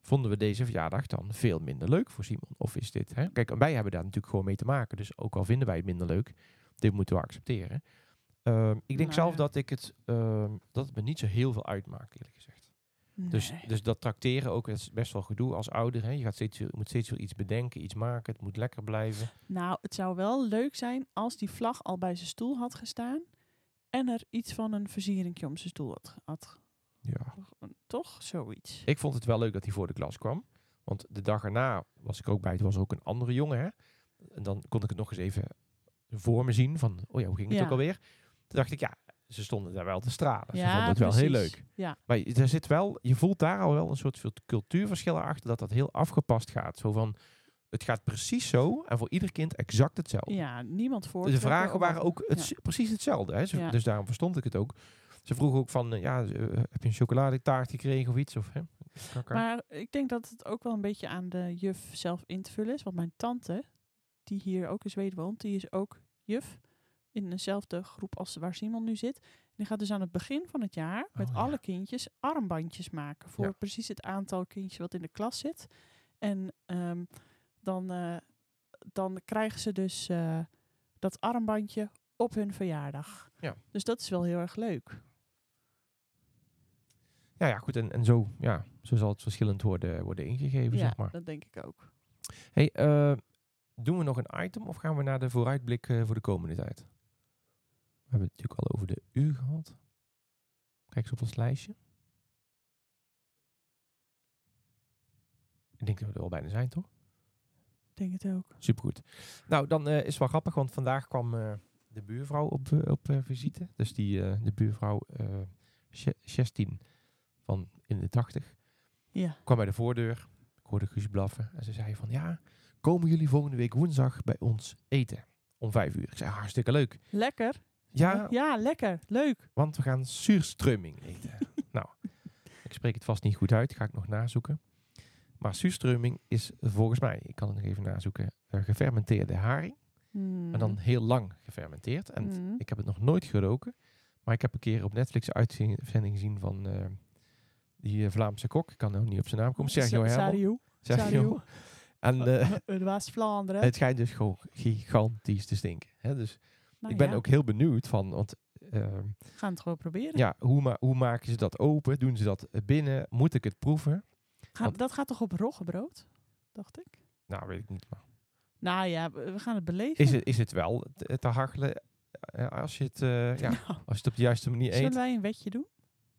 Speaker 2: vonden we deze verjaardag dan veel minder leuk voor Simon? Of is dit, hè? kijk, en wij hebben daar natuurlijk gewoon mee te maken, dus ook al vinden wij het minder leuk, dit moeten we accepteren. Ehm, ik denk
Speaker 1: Nou
Speaker 2: zelf
Speaker 1: ja.
Speaker 2: dat ik het, ehm, dat het me niet zo heel veel uitmaakt, eerlijk gezegd. Dus,
Speaker 1: Nee.
Speaker 2: dus dat tracteren ook, dat is best wel gedoe als ouder. Hè? Je, gaat steeds, weer- je moet steeds weer iets bedenken, iets maken, het moet lekker blijven.
Speaker 1: Nou, het zou wel leuk zijn als die vlag al bij zijn stoel had gestaan. En er iets van een versieringje om zijn stoel had, had
Speaker 2: Ja.
Speaker 1: Toch zoiets.
Speaker 2: Ik vond het wel leuk dat hij voor de klas kwam. Want de dag erna was ik ook bij. Toen was er ook een andere jongen. Hè? En dan kon ik het nog eens even voor me zien. Van, oh ja, hoe ging het
Speaker 1: Ja.
Speaker 2: ook alweer? Toen dacht ik, ja, ze stonden daar wel te stralen. ze
Speaker 1: ja,
Speaker 2: vonden het wel heel
Speaker 1: precies.
Speaker 2: leuk.
Speaker 1: Ja,
Speaker 2: Maar je- daar zit wel, je voelt daar al wel een soort vult- cultuurverschil achter. Dat dat heel afgepast gaat. Zo van, het gaat precies zo. En voor ieder kind exact hetzelfde.
Speaker 1: ja niemand voor.
Speaker 2: Dus De vragen waren ook het,
Speaker 1: ja.
Speaker 2: s- precies hetzelfde. Hè? Ze-
Speaker 1: Ja.
Speaker 2: Dus daarom verstond ik het ook. Ze vroegen ook van, eh, ja, eh, heb je een chocoladetaart gekregen of iets? Of, hè? Kaka.
Speaker 1: Maar ik denk dat het ook wel een beetje aan de juf zelf in te vullen is. Want mijn tante, die hier ook in Zweden woont, die is ook juf. in dezelfde groep als waar Simon nu zit. Die gaat dus aan het begin van het jaar met
Speaker 2: Oh, ja.
Speaker 1: alle kindjes armbandjes maken. Voor
Speaker 2: Ja.
Speaker 1: precies het aantal kindjes wat in de klas zit. En ehm, dan, eh, dan krijgen ze dus eh, dat armbandje op hun verjaardag.
Speaker 2: Ja.
Speaker 1: Dus dat is wel heel erg leuk.
Speaker 2: Ja, ja goed. En, en zo, ja, zo zal het verschillend worden, worden ingegeven,
Speaker 1: ja,
Speaker 2: zeg maar.
Speaker 1: dat denk ik ook.
Speaker 2: Hey, eh, doen we nog een item of gaan we naar de vooruitblik eh, voor de komende tijd? We hebben het natuurlijk al over de U gehad. Kijk eens op ons lijstje. Ik denk dat we er al bijna zijn, toch?
Speaker 1: Ik denk het ook.
Speaker 2: Supergoed. Nou, dan eh, is het wel grappig, want vandaag kwam eh, de buurvrouw op, eh, op eh, visite. Dus die, eh, de buurvrouw eh, She- 16 van in de 80
Speaker 1: Ja.
Speaker 2: kwam bij de voordeur. Ik hoorde Guus blaffen. En ze zei van, ja, komen jullie volgende week woensdag bij ons eten? Om vijf uur. Ik zei, hartstikke leuk.
Speaker 1: Lekker.
Speaker 2: Ja,
Speaker 1: ja, lekker. Leuk.
Speaker 2: want we gaan zuurströmming eten. nou, ik spreek het vast niet goed uit. Ga ik nog nazoeken. Maar zuurströmming is volgens mij, ik kan het nog even nazoeken, eh, gefermenteerde haring.
Speaker 1: Hmm.
Speaker 2: Maar
Speaker 1: Mm.
Speaker 2: dan heel lang gefermenteerd. En
Speaker 1: Mhm.
Speaker 2: ik heb het nog nooit geroken. Maar ik heb een keer op Netflix een uitzending gezien van eh, die eh, Vlaamse kok. Ik kan nou niet op zijn naam komen. Sergio Herman.
Speaker 1: Sariu.
Speaker 2: Sergio. En
Speaker 1: Oh,
Speaker 2: eh,
Speaker 1: Het was Vlaanderen.
Speaker 2: het schijnt dus gewoon gigantisch te stinken. Hè? Dus
Speaker 1: Nou
Speaker 2: ik ben
Speaker 1: ja,
Speaker 2: ook heel benieuwd van... Want, eh,
Speaker 1: we gaan het gewoon proberen.
Speaker 2: ja, hoe, ma- hoe maken ze dat open? Doen ze dat eh, binnen? Moet ik het proeven?
Speaker 1: Ga-
Speaker 2: want-
Speaker 1: dat gaat toch op roggebrood? Dacht ik.
Speaker 2: Nou, weet ik niet. Maar
Speaker 1: Nou ja, we we gaan het beleven.
Speaker 2: is, het, is het wel te, te hachelen eh, als je, het, eh, ja,
Speaker 1: Nou,
Speaker 2: als je het op de juiste manier
Speaker 1: zullen
Speaker 2: eet?
Speaker 1: wij een wetje doen?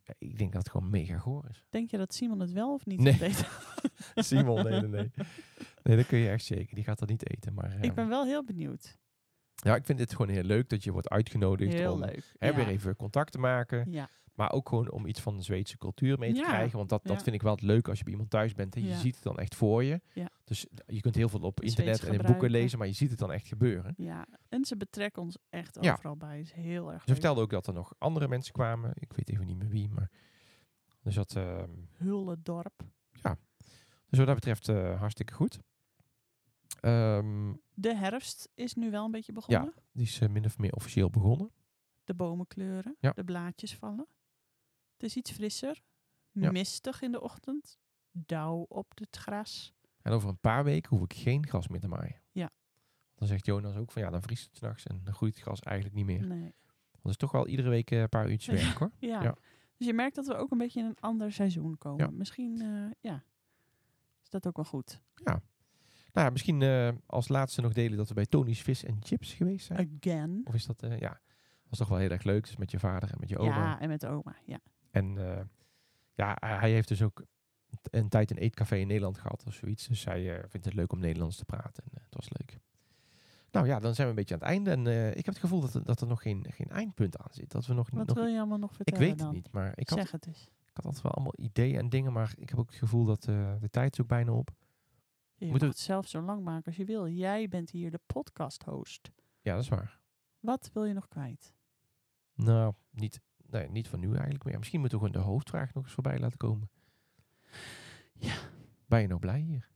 Speaker 2: Ja, ik denk dat het gewoon mega goor is.
Speaker 1: Denk je dat Simon het wel of niet
Speaker 2: Nee.
Speaker 1: gaat eten?
Speaker 2: Simon, nee, nee, nee. Nee, dat kun je echt zeker. Die gaat dat niet eten. Maar eh,
Speaker 1: Ik ben wel heel benieuwd.
Speaker 2: ja, ik vind het gewoon heel leuk dat je wordt uitgenodigd
Speaker 1: Heel
Speaker 2: om
Speaker 1: leuk.
Speaker 2: hè,
Speaker 1: ja.
Speaker 2: weer even contact te maken.
Speaker 1: Ja.
Speaker 2: Maar ook gewoon om iets van de Zweedse cultuur mee te
Speaker 1: Ja,
Speaker 2: krijgen. Want dat, dat
Speaker 1: ja.
Speaker 2: vind ik wel het leuk als je bij iemand thuis bent. En je
Speaker 1: Ja.
Speaker 2: ziet het dan echt voor je.
Speaker 1: Ja.
Speaker 2: Dus je kunt heel veel op
Speaker 1: Zweeds
Speaker 2: internet en in boeken
Speaker 1: gebruiken.
Speaker 2: lezen. Maar je ziet het dan echt gebeuren.
Speaker 1: ja, en ze betrekken ons echt
Speaker 2: Ja.
Speaker 1: overal bij. Is heel erg
Speaker 2: Ze
Speaker 1: leuk.
Speaker 2: vertelde ook dat er nog andere mensen kwamen. Ik weet even niet meer wie. Maar... Dus, dat, eh,
Speaker 1: Hullendorp.
Speaker 2: dus wat dat betreft eh, hartstikke goed. Ehm,
Speaker 1: De herfst is nu wel een beetje begonnen.
Speaker 2: die is eh, min of meer officieel begonnen.
Speaker 1: De bomen kleuren,
Speaker 2: Ja.
Speaker 1: de blaadjes vallen. Het is iets frisser,
Speaker 2: Ja.
Speaker 1: mistig in de ochtend, dauw op het gras.
Speaker 2: En over een paar weken hoef ik geen gras meer te maaien.
Speaker 1: Ja.
Speaker 2: Dan zegt Jonas ook van ja, dan vriest het s'nachts en dan groeit het gras eigenlijk niet meer.
Speaker 1: Nee.
Speaker 2: Want het is toch wel iedere week eh, een paar uurtjes
Speaker 1: Ja.
Speaker 2: werk hoor.
Speaker 1: Ja.
Speaker 2: Ja.
Speaker 1: Dus je merkt dat we ook een beetje in een ander seizoen komen.
Speaker 2: Ja.
Speaker 1: Misschien, eh, ja, is dat ook wel goed.
Speaker 2: Nou ja, misschien eh, als laatste nog delen dat we bij Tony's Vis en Chips geweest zijn.
Speaker 1: Again.
Speaker 2: Of is dat, eh, ja, was toch wel heel erg leuk. Dus met je vader en met je oma.
Speaker 1: Ja, en met oma. Ja.
Speaker 2: En eh, ja, hij heeft dus ook t- een tijd een eetcafé in Nederland gehad of zoiets. Dus hij eh, vindt het leuk om Nederlands te praten. En, eh, het was leuk. Nou ja, dan zijn we een beetje aan het einde. En eh, ik heb het gevoel dat, er- dat er nog geen, geen eindpunt aan zit. Dat we nog,
Speaker 1: Wat
Speaker 2: nog
Speaker 1: wil je allemaal nog
Speaker 2: Ik
Speaker 1: vertellen
Speaker 2: weet het
Speaker 1: dan?
Speaker 2: niet, maar ik had,
Speaker 1: Zeg het eens.
Speaker 2: ik had altijd wel allemaal ideeën en dingen, maar ik heb ook het gevoel dat eh, de tijd is ook bijna op.
Speaker 1: Je
Speaker 2: Moeten
Speaker 1: moet
Speaker 2: we-
Speaker 1: het zelf zo lang maken als je wil. Jij bent hier de podcast host.
Speaker 2: Ja, dat is waar.
Speaker 1: Wat wil je nog kwijt?
Speaker 2: Nou, niet, nee, niet van nu eigenlijk meer. Misschien moeten we gewoon de hoofdvraag nog eens voorbij laten komen.
Speaker 1: Ja.
Speaker 2: Ben je nou blij hier?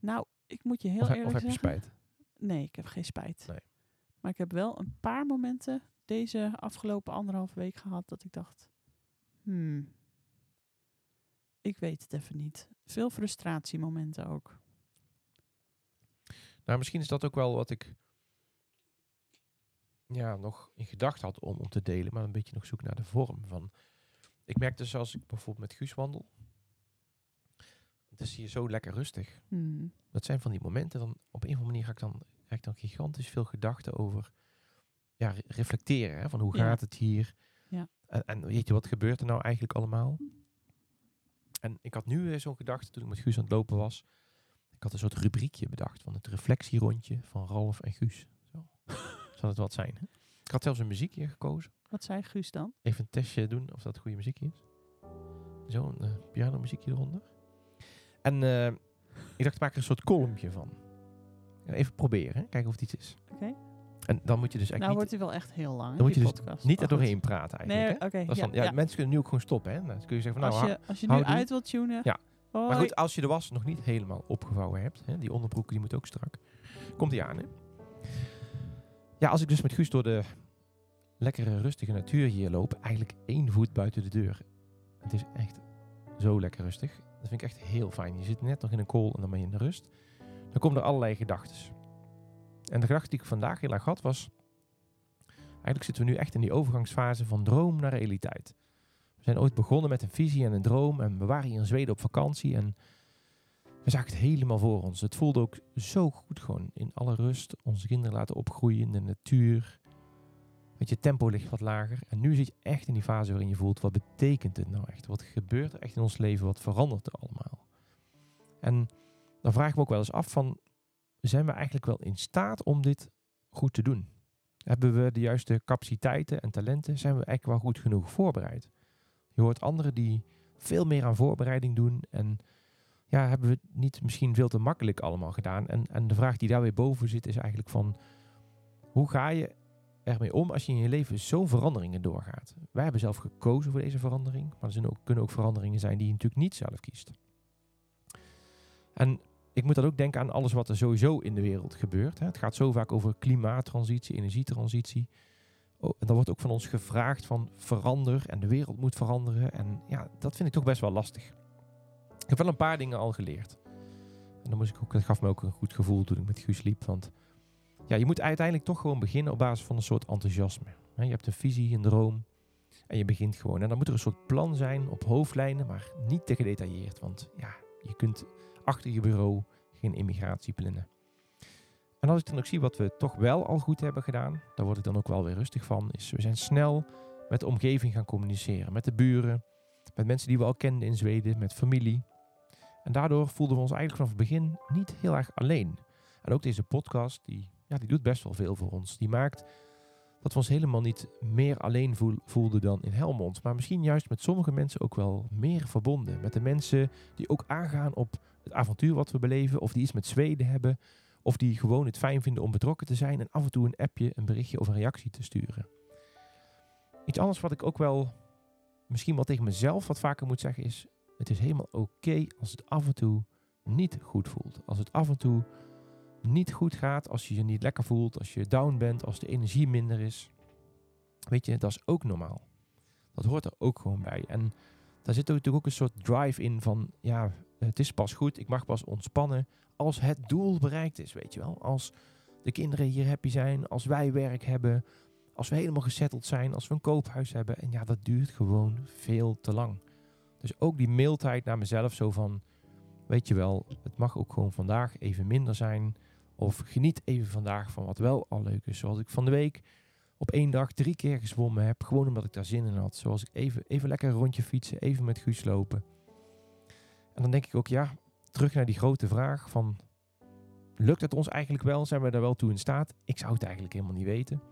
Speaker 1: Nou, ik moet je heel
Speaker 2: Of, he-
Speaker 1: eerlijk
Speaker 2: of heb je
Speaker 1: zeggen.
Speaker 2: spijt?
Speaker 1: Nee, ik heb geen spijt.
Speaker 2: Nee.
Speaker 1: Maar ik heb wel een paar momenten deze afgelopen anderhalve week gehad dat ik dacht, hmm, ik weet het even niet. Veel frustratiemomenten ook.
Speaker 2: Nou, misschien is dat ook wel wat ik ja, nog in gedachten had om, om te delen, maar een beetje nog zoek naar de vorm van. Ik merk dus als ik bijvoorbeeld met Guus wandel, het is hier zo lekker rustig.
Speaker 1: Hmm.
Speaker 2: dat zijn van die momenten. Dan op een of andere manier ga ik dan, ga ik dan gigantisch veel gedachten over ja, re- reflecteren. Hè, van hoe
Speaker 1: Ja.
Speaker 2: gaat het hier?
Speaker 1: Ja.
Speaker 2: En, en weet je, wat gebeurt er nou eigenlijk allemaal? En ik had nu weer zo'n gedachte toen ik met Guus aan het lopen was. Ik had een soort rubriekje bedacht van het reflectierondje van Ralf en Guus. Zo. Zou dat wat zijn? Hè? Ik had zelfs een muziekje gekozen.
Speaker 1: Wat zei Guus dan?
Speaker 2: Even een testje doen of dat goede muziekje is. Zo'n eh, pianomuziekje eronder. En eh, ik dacht, ik maak er een soort kolompje van. Ja, Even proberen, hè, kijken of het iets is.
Speaker 1: Oké.
Speaker 2: En dan moet je dus echt
Speaker 1: Nou
Speaker 2: niet,
Speaker 1: wordt hij wel echt heel lang.
Speaker 2: dan moet
Speaker 1: die
Speaker 2: je dus
Speaker 1: podcast.
Speaker 2: niet
Speaker 1: Maar
Speaker 2: er
Speaker 1: goed.
Speaker 2: doorheen praten eigenlijk.
Speaker 1: Nee,
Speaker 2: hè.
Speaker 1: oké.
Speaker 2: Dat is
Speaker 1: ja,
Speaker 2: dan, ja,
Speaker 1: ja.
Speaker 2: Mensen kunnen nu ook gewoon stoppen. Hè? Dan kun je zeggen van, nou,
Speaker 1: als,
Speaker 2: ha-
Speaker 1: je, als je nu
Speaker 2: hou die.
Speaker 1: uit wilt tunen.
Speaker 2: Ja.
Speaker 1: Hoi.
Speaker 2: maar goed, als je de was nog niet helemaal opgevouwen hebt, hè, die onderbroek die moet ook strak. Komt die aan, hè? Ja, als ik dus met Guus door de lekkere, rustige natuur hier lopen. Eigenlijk één voet buiten de deur. Het is echt zo lekker rustig. Dat vind ik echt heel fijn. Je zit net nog in een call en dan ben je in de rust. Dan komen er allerlei gedachten. En de gedachte die ik vandaag heel erg had was... Eigenlijk zitten we nu echt in die overgangsfase van droom naar realiteit. We zijn ooit begonnen met een visie en een droom. En we waren hier in Zweden op vakantie. En we zagen het helemaal voor ons. Het voelde ook zo goed gewoon. In alle rust. Onze kinderen laten opgroeien in de natuur. Weet je, tempo ligt wat lager. En nu zit je echt in die fase waarin je voelt. Wat betekent dit nou echt? Wat gebeurt er echt in ons leven? Wat verandert er allemaal? En dan vraag ik me ook wel eens af van... Zijn we eigenlijk wel in staat om dit goed te doen? Hebben we de juiste capaciteiten en talenten? Zijn we echt wel goed genoeg voorbereid? Je hoort anderen die veel meer aan voorbereiding doen. En ja, hebben we het niet misschien veel te makkelijk allemaal gedaan. En, en de vraag die daar weer boven zit is eigenlijk van... Hoe ga je ermee om als je in je leven zo'n veranderingen doorgaat? Wij hebben zelf gekozen voor deze verandering. Maar er zijn ook, kunnen ook veranderingen zijn die je natuurlijk niet zelf kiest. En ik moet dan ook denken aan alles wat er sowieso in de wereld gebeurt. Hè. Het gaat zo vaak over klimaattransitie, energietransitie. Oh, en dan wordt ook van ons gevraagd van verander en de wereld moet veranderen. En ja, dat vind ik toch best wel lastig. Ik heb wel een paar dingen al geleerd. En dan moest ik ook, dat gaf me ook een goed gevoel toen ik met Guus liep. Want ja, je moet uiteindelijk toch gewoon beginnen op basis van een soort enthousiasme. Hè, Je hebt een visie, een droom. En je begint gewoon. En dan moet er een soort plan zijn op hoofdlijnen, maar niet te gedetailleerd. Want ja, je kunt achter je bureau geen immigratie plannen. En als ik dan ook zie wat we toch wel al goed hebben gedaan, daar word ik dan ook wel weer rustig van, is we zijn snel met de omgeving gaan communiceren. Met de buren, met mensen die we al kenden in Zweden, met familie. En daardoor voelden we ons eigenlijk vanaf het begin niet heel erg alleen. En ook deze podcast, die, ja, die doet best wel veel voor ons. Die maakt dat we ons helemaal niet meer alleen voel- voelden dan in Helmond. Maar misschien juist met sommige mensen ook wel meer verbonden. Met de mensen die ook aangaan op het avontuur wat we beleven. Of die iets met Zweden hebben. Of die gewoon het fijn vinden om betrokken te zijn en af en toe een appje, een berichtje of een reactie te sturen. Iets anders wat ik ook wel misschien wel tegen mezelf wat vaker moet zeggen is: het is helemaal oké als het af en toe niet goed voelt. Als het af en toe niet goed gaat, als je je niet lekker voelt, als je down bent, als de energie minder is. Weet je, dat is ook normaal. Dat hoort er ook gewoon bij. En daar zit ook natuurlijk ook een soort drive in van, ja, het is pas goed, ik mag pas ontspannen als het doel bereikt is, weet je wel. Als de kinderen hier happy zijn, als wij werk hebben, als we helemaal gezetteld zijn, als we een koophuis hebben. En ja, dat duurt gewoon veel te lang. Dus ook die mildheid naar mezelf, zo van, weet je wel, het mag ook gewoon vandaag even minder zijn. Of geniet even vandaag van wat wel al leuk is. Zoals ik van de week op één dag drie keer gezwommen heb, gewoon omdat ik daar zin in had. Zoals ik even, even lekker een rondje fietsen, even met Guus lopen. En dan denk ik ook, ja, terug naar die grote vraag van... Lukt het ons eigenlijk wel? Zijn we daar wel toe in staat? Ik zou het eigenlijk helemaal niet weten.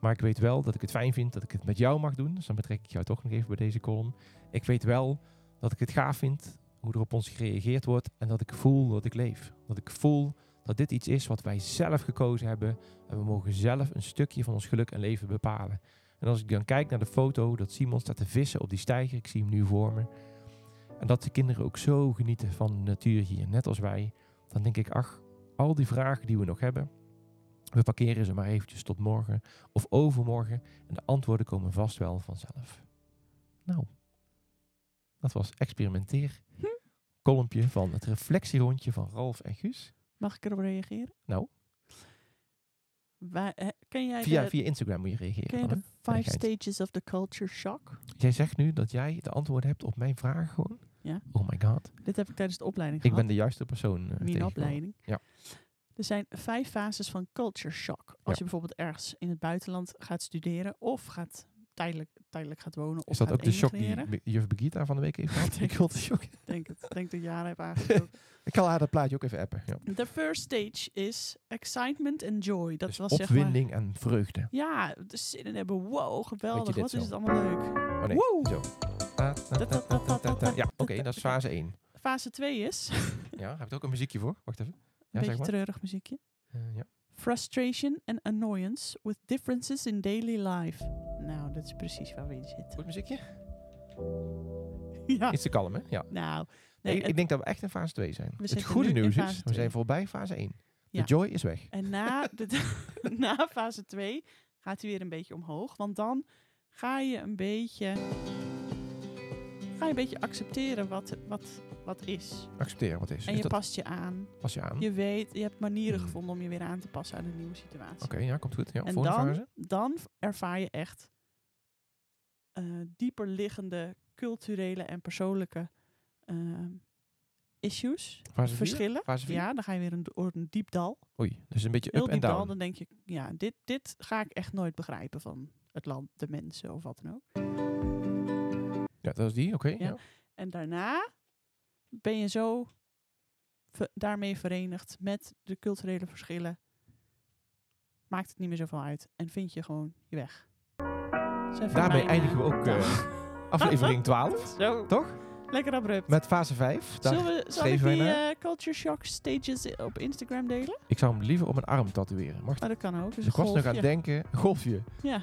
Speaker 2: Maar ik weet wel dat ik het fijn vind dat ik het met jou mag doen. Dus dan betrek ik jou toch nog even bij deze column. Ik weet wel dat ik het gaaf vind hoe er op ons gereageerd wordt. En dat ik voel dat ik leef. Dat ik voel dat dit iets is wat wij zelf gekozen hebben. En we mogen zelf een stukje van ons geluk en leven bepalen. En als ik dan kijk naar de foto dat Simon staat te vissen op die steiger. Ik zie hem nu voor me. En dat de kinderen ook zo genieten van de natuur hier, net als wij. Dan denk ik, ach, al die vragen die we nog hebben. We parkeren ze maar eventjes tot morgen of overmorgen. En de antwoorden komen vast wel vanzelf. Nou, dat was experimenteer.
Speaker 1: Hm.
Speaker 2: Kolompje van het reflectierondje van Ralf en Guus.
Speaker 1: Mag ik erop reageren?
Speaker 2: Nou.
Speaker 1: Waar, eh, ken jij
Speaker 2: Via,
Speaker 1: de,
Speaker 2: via Instagram moet je reageren.
Speaker 1: ken je
Speaker 2: dan,
Speaker 1: de
Speaker 2: hè?
Speaker 1: Five
Speaker 2: Geintje.
Speaker 1: Stages of the Culture Shock?
Speaker 2: Jij zegt nu dat jij de antwoorden hebt op mijn vraag gewoon.
Speaker 1: Ja.
Speaker 2: Oh my god.
Speaker 1: Dit heb ik tijdens de opleiding
Speaker 2: Ik
Speaker 1: gehad.
Speaker 2: ben de juiste persoon. eh,
Speaker 1: Mijn
Speaker 2: tegengekomen.
Speaker 1: opleiding.
Speaker 2: Ja.
Speaker 1: Er zijn vijf fases van culture shock. Als
Speaker 2: Ja.
Speaker 1: je bijvoorbeeld ergens in het buitenland gaat studeren of gaat tijdelijk, tijdelijk gaat wonen. Of
Speaker 2: Is dat
Speaker 1: gaat
Speaker 2: ook de shock die
Speaker 1: emigreren.
Speaker 2: Be- juf Begita van de week heeft gehad?
Speaker 1: Denk
Speaker 2: ik wilde shock.
Speaker 1: Ik denk het. Ik denk dat ik jaren heb aangestoken.
Speaker 2: Ik kan haar dat plaatje ook even appen. Ja.
Speaker 1: The first stage is excitement and joy. Dat
Speaker 2: Dus
Speaker 1: was zeg maar...
Speaker 2: opwinding en vreugde.
Speaker 1: Ja, de zin in hebben. Wow, geweldig.
Speaker 2: dit
Speaker 1: Wat is
Speaker 2: zo?
Speaker 1: het allemaal leuk.
Speaker 2: Oh nee,
Speaker 1: Wow.
Speaker 2: zo. Ta, ta, ta, ta, ta, ta, ta. Ja, oké, dat is fase 1.
Speaker 1: Fase 2 is, een
Speaker 2: Ja, heb je ook een muziekje voor? Wacht even. Ja,
Speaker 1: beetje
Speaker 2: zeg maar.
Speaker 1: treurig muziekje.
Speaker 2: Eh, ja.
Speaker 1: Frustration and annoyance with differences in daily life. Nou, dat is precies waar we in zitten.
Speaker 2: Goed muziekje?
Speaker 1: Ja,
Speaker 2: Iets te kalm, hè? Ja.
Speaker 1: nou.
Speaker 2: Nee,
Speaker 1: Ah. Nee,
Speaker 2: ik,
Speaker 1: het-
Speaker 2: ik denk dat we echt in fase 2 zijn. Het
Speaker 1: zitten
Speaker 2: goede
Speaker 1: nu in
Speaker 2: nieuws
Speaker 1: fase
Speaker 2: is, we
Speaker 1: twee.
Speaker 2: zijn voorbij fase 1.
Speaker 1: Ja.
Speaker 2: De joy is weg.
Speaker 1: en na, de, na fase 2 gaat hij weer een beetje omhoog. Want dan ga je een beetje, ga je een beetje accepteren wat, wat, wat is.
Speaker 2: Accepteren wat is.
Speaker 1: En
Speaker 2: Dus is
Speaker 1: je
Speaker 2: dat Hm?
Speaker 1: past je aan.
Speaker 2: pas je aan?
Speaker 1: Je weet, je hebt manieren
Speaker 2: Mhm.
Speaker 1: gevonden om je weer aan te passen aan de nieuwe situatie.
Speaker 2: Oké, ja, komt goed. Ja,
Speaker 1: En
Speaker 2: volgende
Speaker 1: dan,
Speaker 2: fase.
Speaker 1: dan ervaar je echt eh dieper liggende culturele en persoonlijke eh, issues,
Speaker 2: Fase vier?
Speaker 1: verschillen.
Speaker 2: Fase vier?
Speaker 1: Ja, dan ga je weer een, door een diep dal.
Speaker 2: Oei, dus een beetje
Speaker 1: Heel
Speaker 2: up en
Speaker 1: diep dal,
Speaker 2: down.
Speaker 1: dan denk je, ja, dit, dit ga ik echt nooit begrijpen van het land, de mensen of wat dan ook.
Speaker 2: Ja, dat is die, oké.
Speaker 1: Ja.
Speaker 2: ja.
Speaker 1: En daarna ben je zo ver- daarmee verenigd met de culturele verschillen. Maakt het niet meer zoveel uit en vind je gewoon je weg. Zijn voor
Speaker 2: Daarmee
Speaker 1: mij-
Speaker 2: eindigen we ook eh, aflevering 12,
Speaker 1: Zo,
Speaker 2: toch?
Speaker 1: lekker abrupt.
Speaker 2: Met fase 5. Daar-
Speaker 1: Zullen we, zal ik
Speaker 2: streven wij
Speaker 1: die
Speaker 2: naar.
Speaker 1: eh, Culture Shock stages i- op Instagram delen?
Speaker 2: Ik zou hem liever op mijn arm tatoeëren. Mag dat?
Speaker 1: Oh, dat kan ook. Dus een
Speaker 2: ik was nog aan het
Speaker 1: golfje.
Speaker 2: denken, een golfje.
Speaker 1: Ja,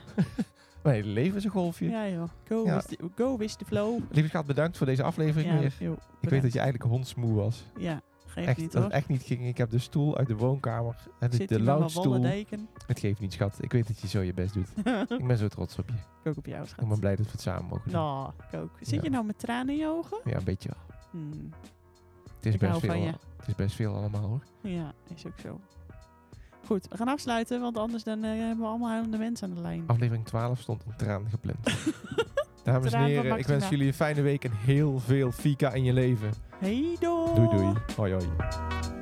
Speaker 2: Mijn hele leven is een golfje.
Speaker 1: ja joh. Go,
Speaker 2: Ja.
Speaker 1: With the, go with the flow.
Speaker 2: Lieve schat, bedankt voor deze aflevering
Speaker 1: Ja,
Speaker 2: weer.
Speaker 1: joh,
Speaker 2: Ik weet
Speaker 1: bedankt.
Speaker 2: dat je eigenlijk hondsmoe was.
Speaker 1: Ja, geeft
Speaker 2: Echt,
Speaker 1: niet
Speaker 2: dat
Speaker 1: hoor.
Speaker 2: het echt niet ging. Ik heb de stoel uit de woonkamer. En de,
Speaker 1: Zit
Speaker 2: de
Speaker 1: hier met mijn wollen
Speaker 2: lounge-stoel.
Speaker 1: deken.
Speaker 2: Het geeft niet, schat. Ik weet dat je zo je best doet.
Speaker 1: ik
Speaker 2: ik ben zo trots op je.
Speaker 1: ook op jou, schat.
Speaker 2: Ik ben blij dat we het samen mogen doen.
Speaker 1: Nou, ik ook. Zit je
Speaker 2: Ja.
Speaker 1: nou met tranen in je ogen?
Speaker 2: Ja, een beetje wel.
Speaker 1: Hmm,
Speaker 2: Het is,
Speaker 1: Ik
Speaker 2: best
Speaker 1: hou van
Speaker 2: veel,
Speaker 1: je.
Speaker 2: het is best veel allemaal hoor.
Speaker 1: Ja, is ook zo. Goed, we gaan afsluiten, want anders dan, eh, hebben we allemaal huilende mensen aan de lijn.
Speaker 2: Aflevering 12 stond een traan gepland. Dames en
Speaker 1: Traan van
Speaker 2: heren, ik wens
Speaker 1: Maxima.
Speaker 2: jullie een fijne week en heel veel fika in je leven.
Speaker 1: Hey, doei.
Speaker 2: Doei doei. Hoi hoi.
Speaker 1: doei.